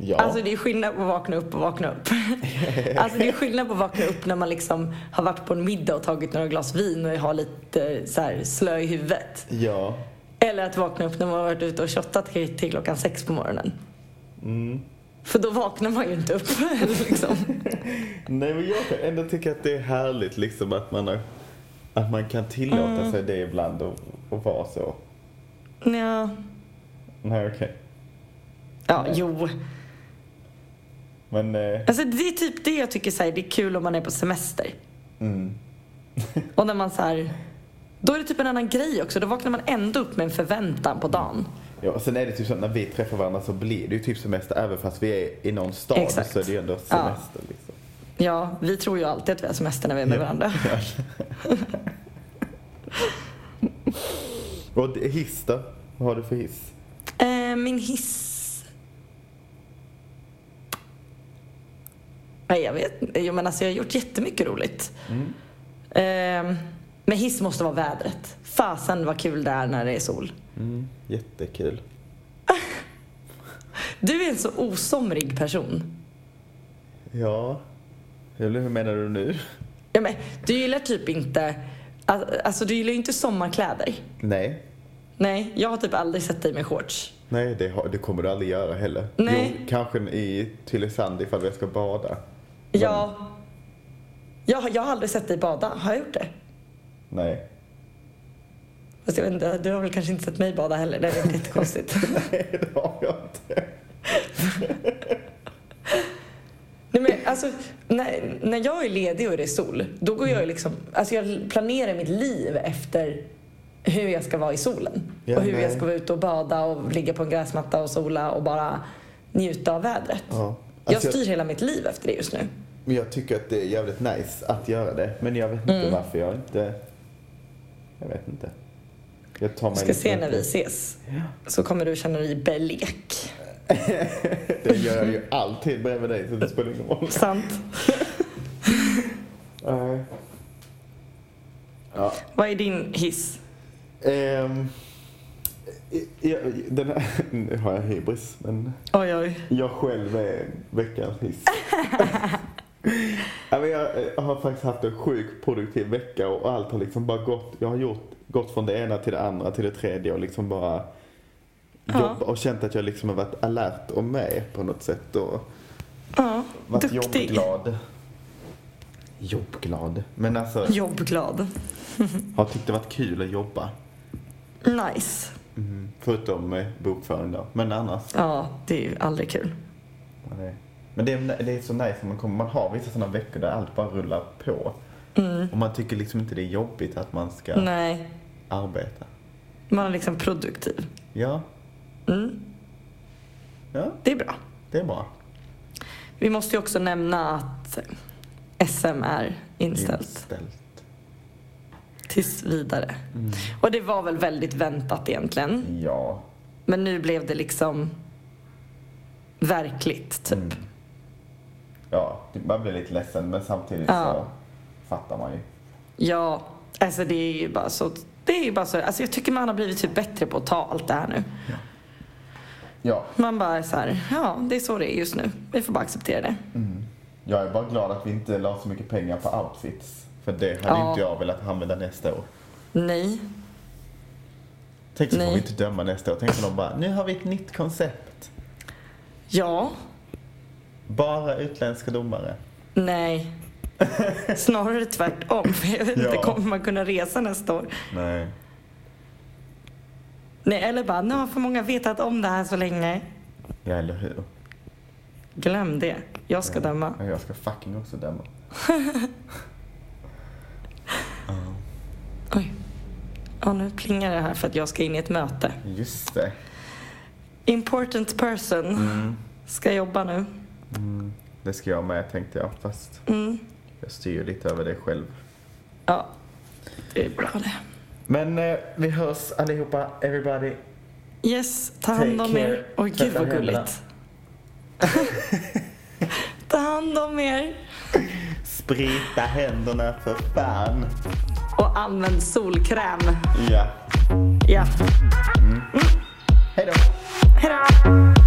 [SPEAKER 1] Ja.
[SPEAKER 2] Alltså det är skillnad på att vakna upp och
[SPEAKER 1] [laughs]
[SPEAKER 2] vakna upp. alltså det är skillnad på att vakna upp när man liksom har varit på en middag och tagit några glas vin och har lite eh, så här slö i huvudet.
[SPEAKER 1] Ja.
[SPEAKER 2] Eller att vakna upp när man har varit ute och shottat till klockan sex på morgonen.
[SPEAKER 1] Mm.
[SPEAKER 2] För då vaknar man ju inte upp. [laughs] liksom.
[SPEAKER 1] Nej men jag kan ändå tycka att det är härligt liksom att man, har, att man kan tillåta
[SPEAKER 2] Mm.
[SPEAKER 1] sig det ibland och, och vara så.
[SPEAKER 2] ja.
[SPEAKER 1] Nej okej.
[SPEAKER 2] ja, jo.
[SPEAKER 1] Men, eh,
[SPEAKER 2] Alltså det är typ det jag tycker så här, det är kul om man är på semester.
[SPEAKER 1] mm.
[SPEAKER 2] Och när man så här, då är det typ en annan grej också. Då vaknar man ändå upp med en förväntan på dagen.
[SPEAKER 1] Ja, och sen är det typ så att när vi träffar varandra så blir det ju typ semester även fast vi är i någon stad
[SPEAKER 2] Exakt.
[SPEAKER 1] så är det ju ändå semester liksom.
[SPEAKER 2] Ja, vi tror ju alltid att vi har semester när vi är med varandra.
[SPEAKER 1] Och det- hiss då? Vad har du för hiss?
[SPEAKER 2] Eh, min hiss... Nej, jag vet inte. Jo, men alltså jag har gjort jättemycket roligt.
[SPEAKER 1] Mm.
[SPEAKER 2] Eh, men hiss måste vara vädret. Fasen vad kul det är när det är sol.
[SPEAKER 1] Mm. Jättekul.
[SPEAKER 2] Du är en så osomrig person.
[SPEAKER 1] Ja. Eller hur menar du nu?
[SPEAKER 2] Ja, men, du gillar typ inte... al- Alltså du gillar ju inte sommarkläder.
[SPEAKER 1] Nej.
[SPEAKER 2] Nej, jag har typ aldrig sett dig med shorts.
[SPEAKER 1] Nej, det, har, det kommer du aldrig göra heller.
[SPEAKER 2] Nej.
[SPEAKER 1] Jo, kanske i Tylösand ifall jag ska bada.
[SPEAKER 2] Jag, jag, har- jag har aldrig sett dig bada. Har jag gjort det?
[SPEAKER 1] Nej. [laughs]
[SPEAKER 2] Fast jag vet inte, du har väl kanske inte sett mig bada heller. Det är väl jättekonstigt.
[SPEAKER 1] Nej, det har jag inte.
[SPEAKER 2] Nej, men alltså, när, när jag är ledig och det är sol, då går jag ju liksom... Alltså jag planerar mitt liv efter hur jag ska vara i solen.
[SPEAKER 1] Ja,
[SPEAKER 2] och hur
[SPEAKER 1] nej.
[SPEAKER 2] jag ska vara ute och bada och ligga på en gräsmatta och sola och bara njuta av vädret.
[SPEAKER 1] Ja.
[SPEAKER 2] jag
[SPEAKER 1] Alltså,
[SPEAKER 2] styr
[SPEAKER 1] jag,
[SPEAKER 2] hela mitt liv efter det just nu.
[SPEAKER 1] men jag tycker att det är jävligt nice att göra det. Men jag vet inte
[SPEAKER 2] Mm.
[SPEAKER 1] varför jag inte... Jag vet inte. Jag tar mig
[SPEAKER 2] Vi ska
[SPEAKER 1] lite-
[SPEAKER 2] se när vi ses. Så kommer du känna dig belek.
[SPEAKER 1] [laughs] Det gör jag ju alltid bredvid dig så det spelar ingen roll.
[SPEAKER 2] Sant.
[SPEAKER 1] Nej. Ja.
[SPEAKER 2] Vad är din hiss?
[SPEAKER 1] Ehm, i- i- den här, [laughs] nu har jag hybris, men
[SPEAKER 2] Oj, oj.
[SPEAKER 1] jag själv är veckans
[SPEAKER 2] [laughs]
[SPEAKER 1] hiss. ja, men jag eh, har faktiskt haft en sjukt produktiv vecka och allt har liksom bara gått. Jag har gjort, gått från det ena till det andra till det tredje och liksom bara
[SPEAKER 2] Ja.
[SPEAKER 1] jobbat och känt att jag liksom har varit alert och med på något sätt. Och,
[SPEAKER 2] Ja,
[SPEAKER 1] Varit
[SPEAKER 2] duktig.
[SPEAKER 1] jobbglad. Jobbglad. Men alltså,
[SPEAKER 2] Jobbglad.
[SPEAKER 1] har tyckt det varit kul att jobba.
[SPEAKER 2] Nice.
[SPEAKER 1] Förutom eh, bokföring då. Men annars.
[SPEAKER 2] Ja, det är ju aldrig kul.
[SPEAKER 1] man är- Men det är, det är så nice när man kommer. Man har vissa sådana veckor där allt bara rullar på. Och man tycker liksom inte det är jobbigt att man ska
[SPEAKER 2] Mm. Nej,
[SPEAKER 1] arbeta.
[SPEAKER 2] man är liksom produktiv.
[SPEAKER 1] Ja.
[SPEAKER 2] Mm.
[SPEAKER 1] Ja,
[SPEAKER 2] Det är bra.
[SPEAKER 1] det är bra.
[SPEAKER 2] Vi måste ju också nämna att SM är inställt
[SPEAKER 1] Inställt.
[SPEAKER 2] tills vidare. Och det var väl väldigt väntat egentligen.
[SPEAKER 1] Ja.
[SPEAKER 2] Men nu blev det liksom verkligt, typ.
[SPEAKER 1] Mm. Ja, man blir lite ledsen men samtidigt
[SPEAKER 2] Ja.
[SPEAKER 1] så fattar man ju.
[SPEAKER 2] Ja, alltså det är ju bara så. Det är ju bara så. Alltså jag tycker man har blivit typ bättre på att ta allt det här nu.
[SPEAKER 1] Ja,
[SPEAKER 2] Man bara är så här, ja det är så det är just nu. Vi får bara acceptera det.
[SPEAKER 1] Jag är bara glad att vi inte la så mycket pengar på outfits. För det hade
[SPEAKER 2] Ja.
[SPEAKER 1] inte jag velat använda nästa år.
[SPEAKER 2] Nej.
[SPEAKER 1] Tänk så får
[SPEAKER 2] Nej.
[SPEAKER 1] vi inte döma nästa år. Tänk om de bara, nu har vi ett nytt koncept.
[SPEAKER 2] Ja.
[SPEAKER 1] Bara utländska domare. [laughs]
[SPEAKER 2] Nej. Snarare tvärtom. [laughs] För Jag vet inte,
[SPEAKER 1] Ja.
[SPEAKER 2] kommer man kunna resa nästa år?
[SPEAKER 1] Nej.
[SPEAKER 2] Nej, eller bara, nu har för många vetat om det här så länge.
[SPEAKER 1] Ja, eller hur?
[SPEAKER 2] Glöm det. Jag
[SPEAKER 1] Mm.
[SPEAKER 2] ska döma.
[SPEAKER 1] Ja, Jag ska fucking också döma.
[SPEAKER 2] Oj. Ja, nu plingar det här för att jag ska in i ett möte.
[SPEAKER 1] Just det.
[SPEAKER 2] Important person
[SPEAKER 1] Mm.
[SPEAKER 2] ska jobba nu.
[SPEAKER 1] Det ska jag med tänkte jag. Fast
[SPEAKER 2] Mm.
[SPEAKER 1] jag styr lite över det själv.
[SPEAKER 2] Ja. Det är bra det.
[SPEAKER 1] Men eh, vi hörs allihopa, everybody.
[SPEAKER 2] Yes, ta hand
[SPEAKER 1] Take
[SPEAKER 2] om
[SPEAKER 1] care.
[SPEAKER 2] er. Oj, gud
[SPEAKER 1] Tvätta
[SPEAKER 2] vad
[SPEAKER 1] händerna.
[SPEAKER 2] gulligt. [laughs] ta hand om er.
[SPEAKER 1] Sprita händerna för fan.
[SPEAKER 2] Och använd solkräm.
[SPEAKER 1] Ja.
[SPEAKER 2] Ja.
[SPEAKER 1] Hej då.
[SPEAKER 2] Hejdå!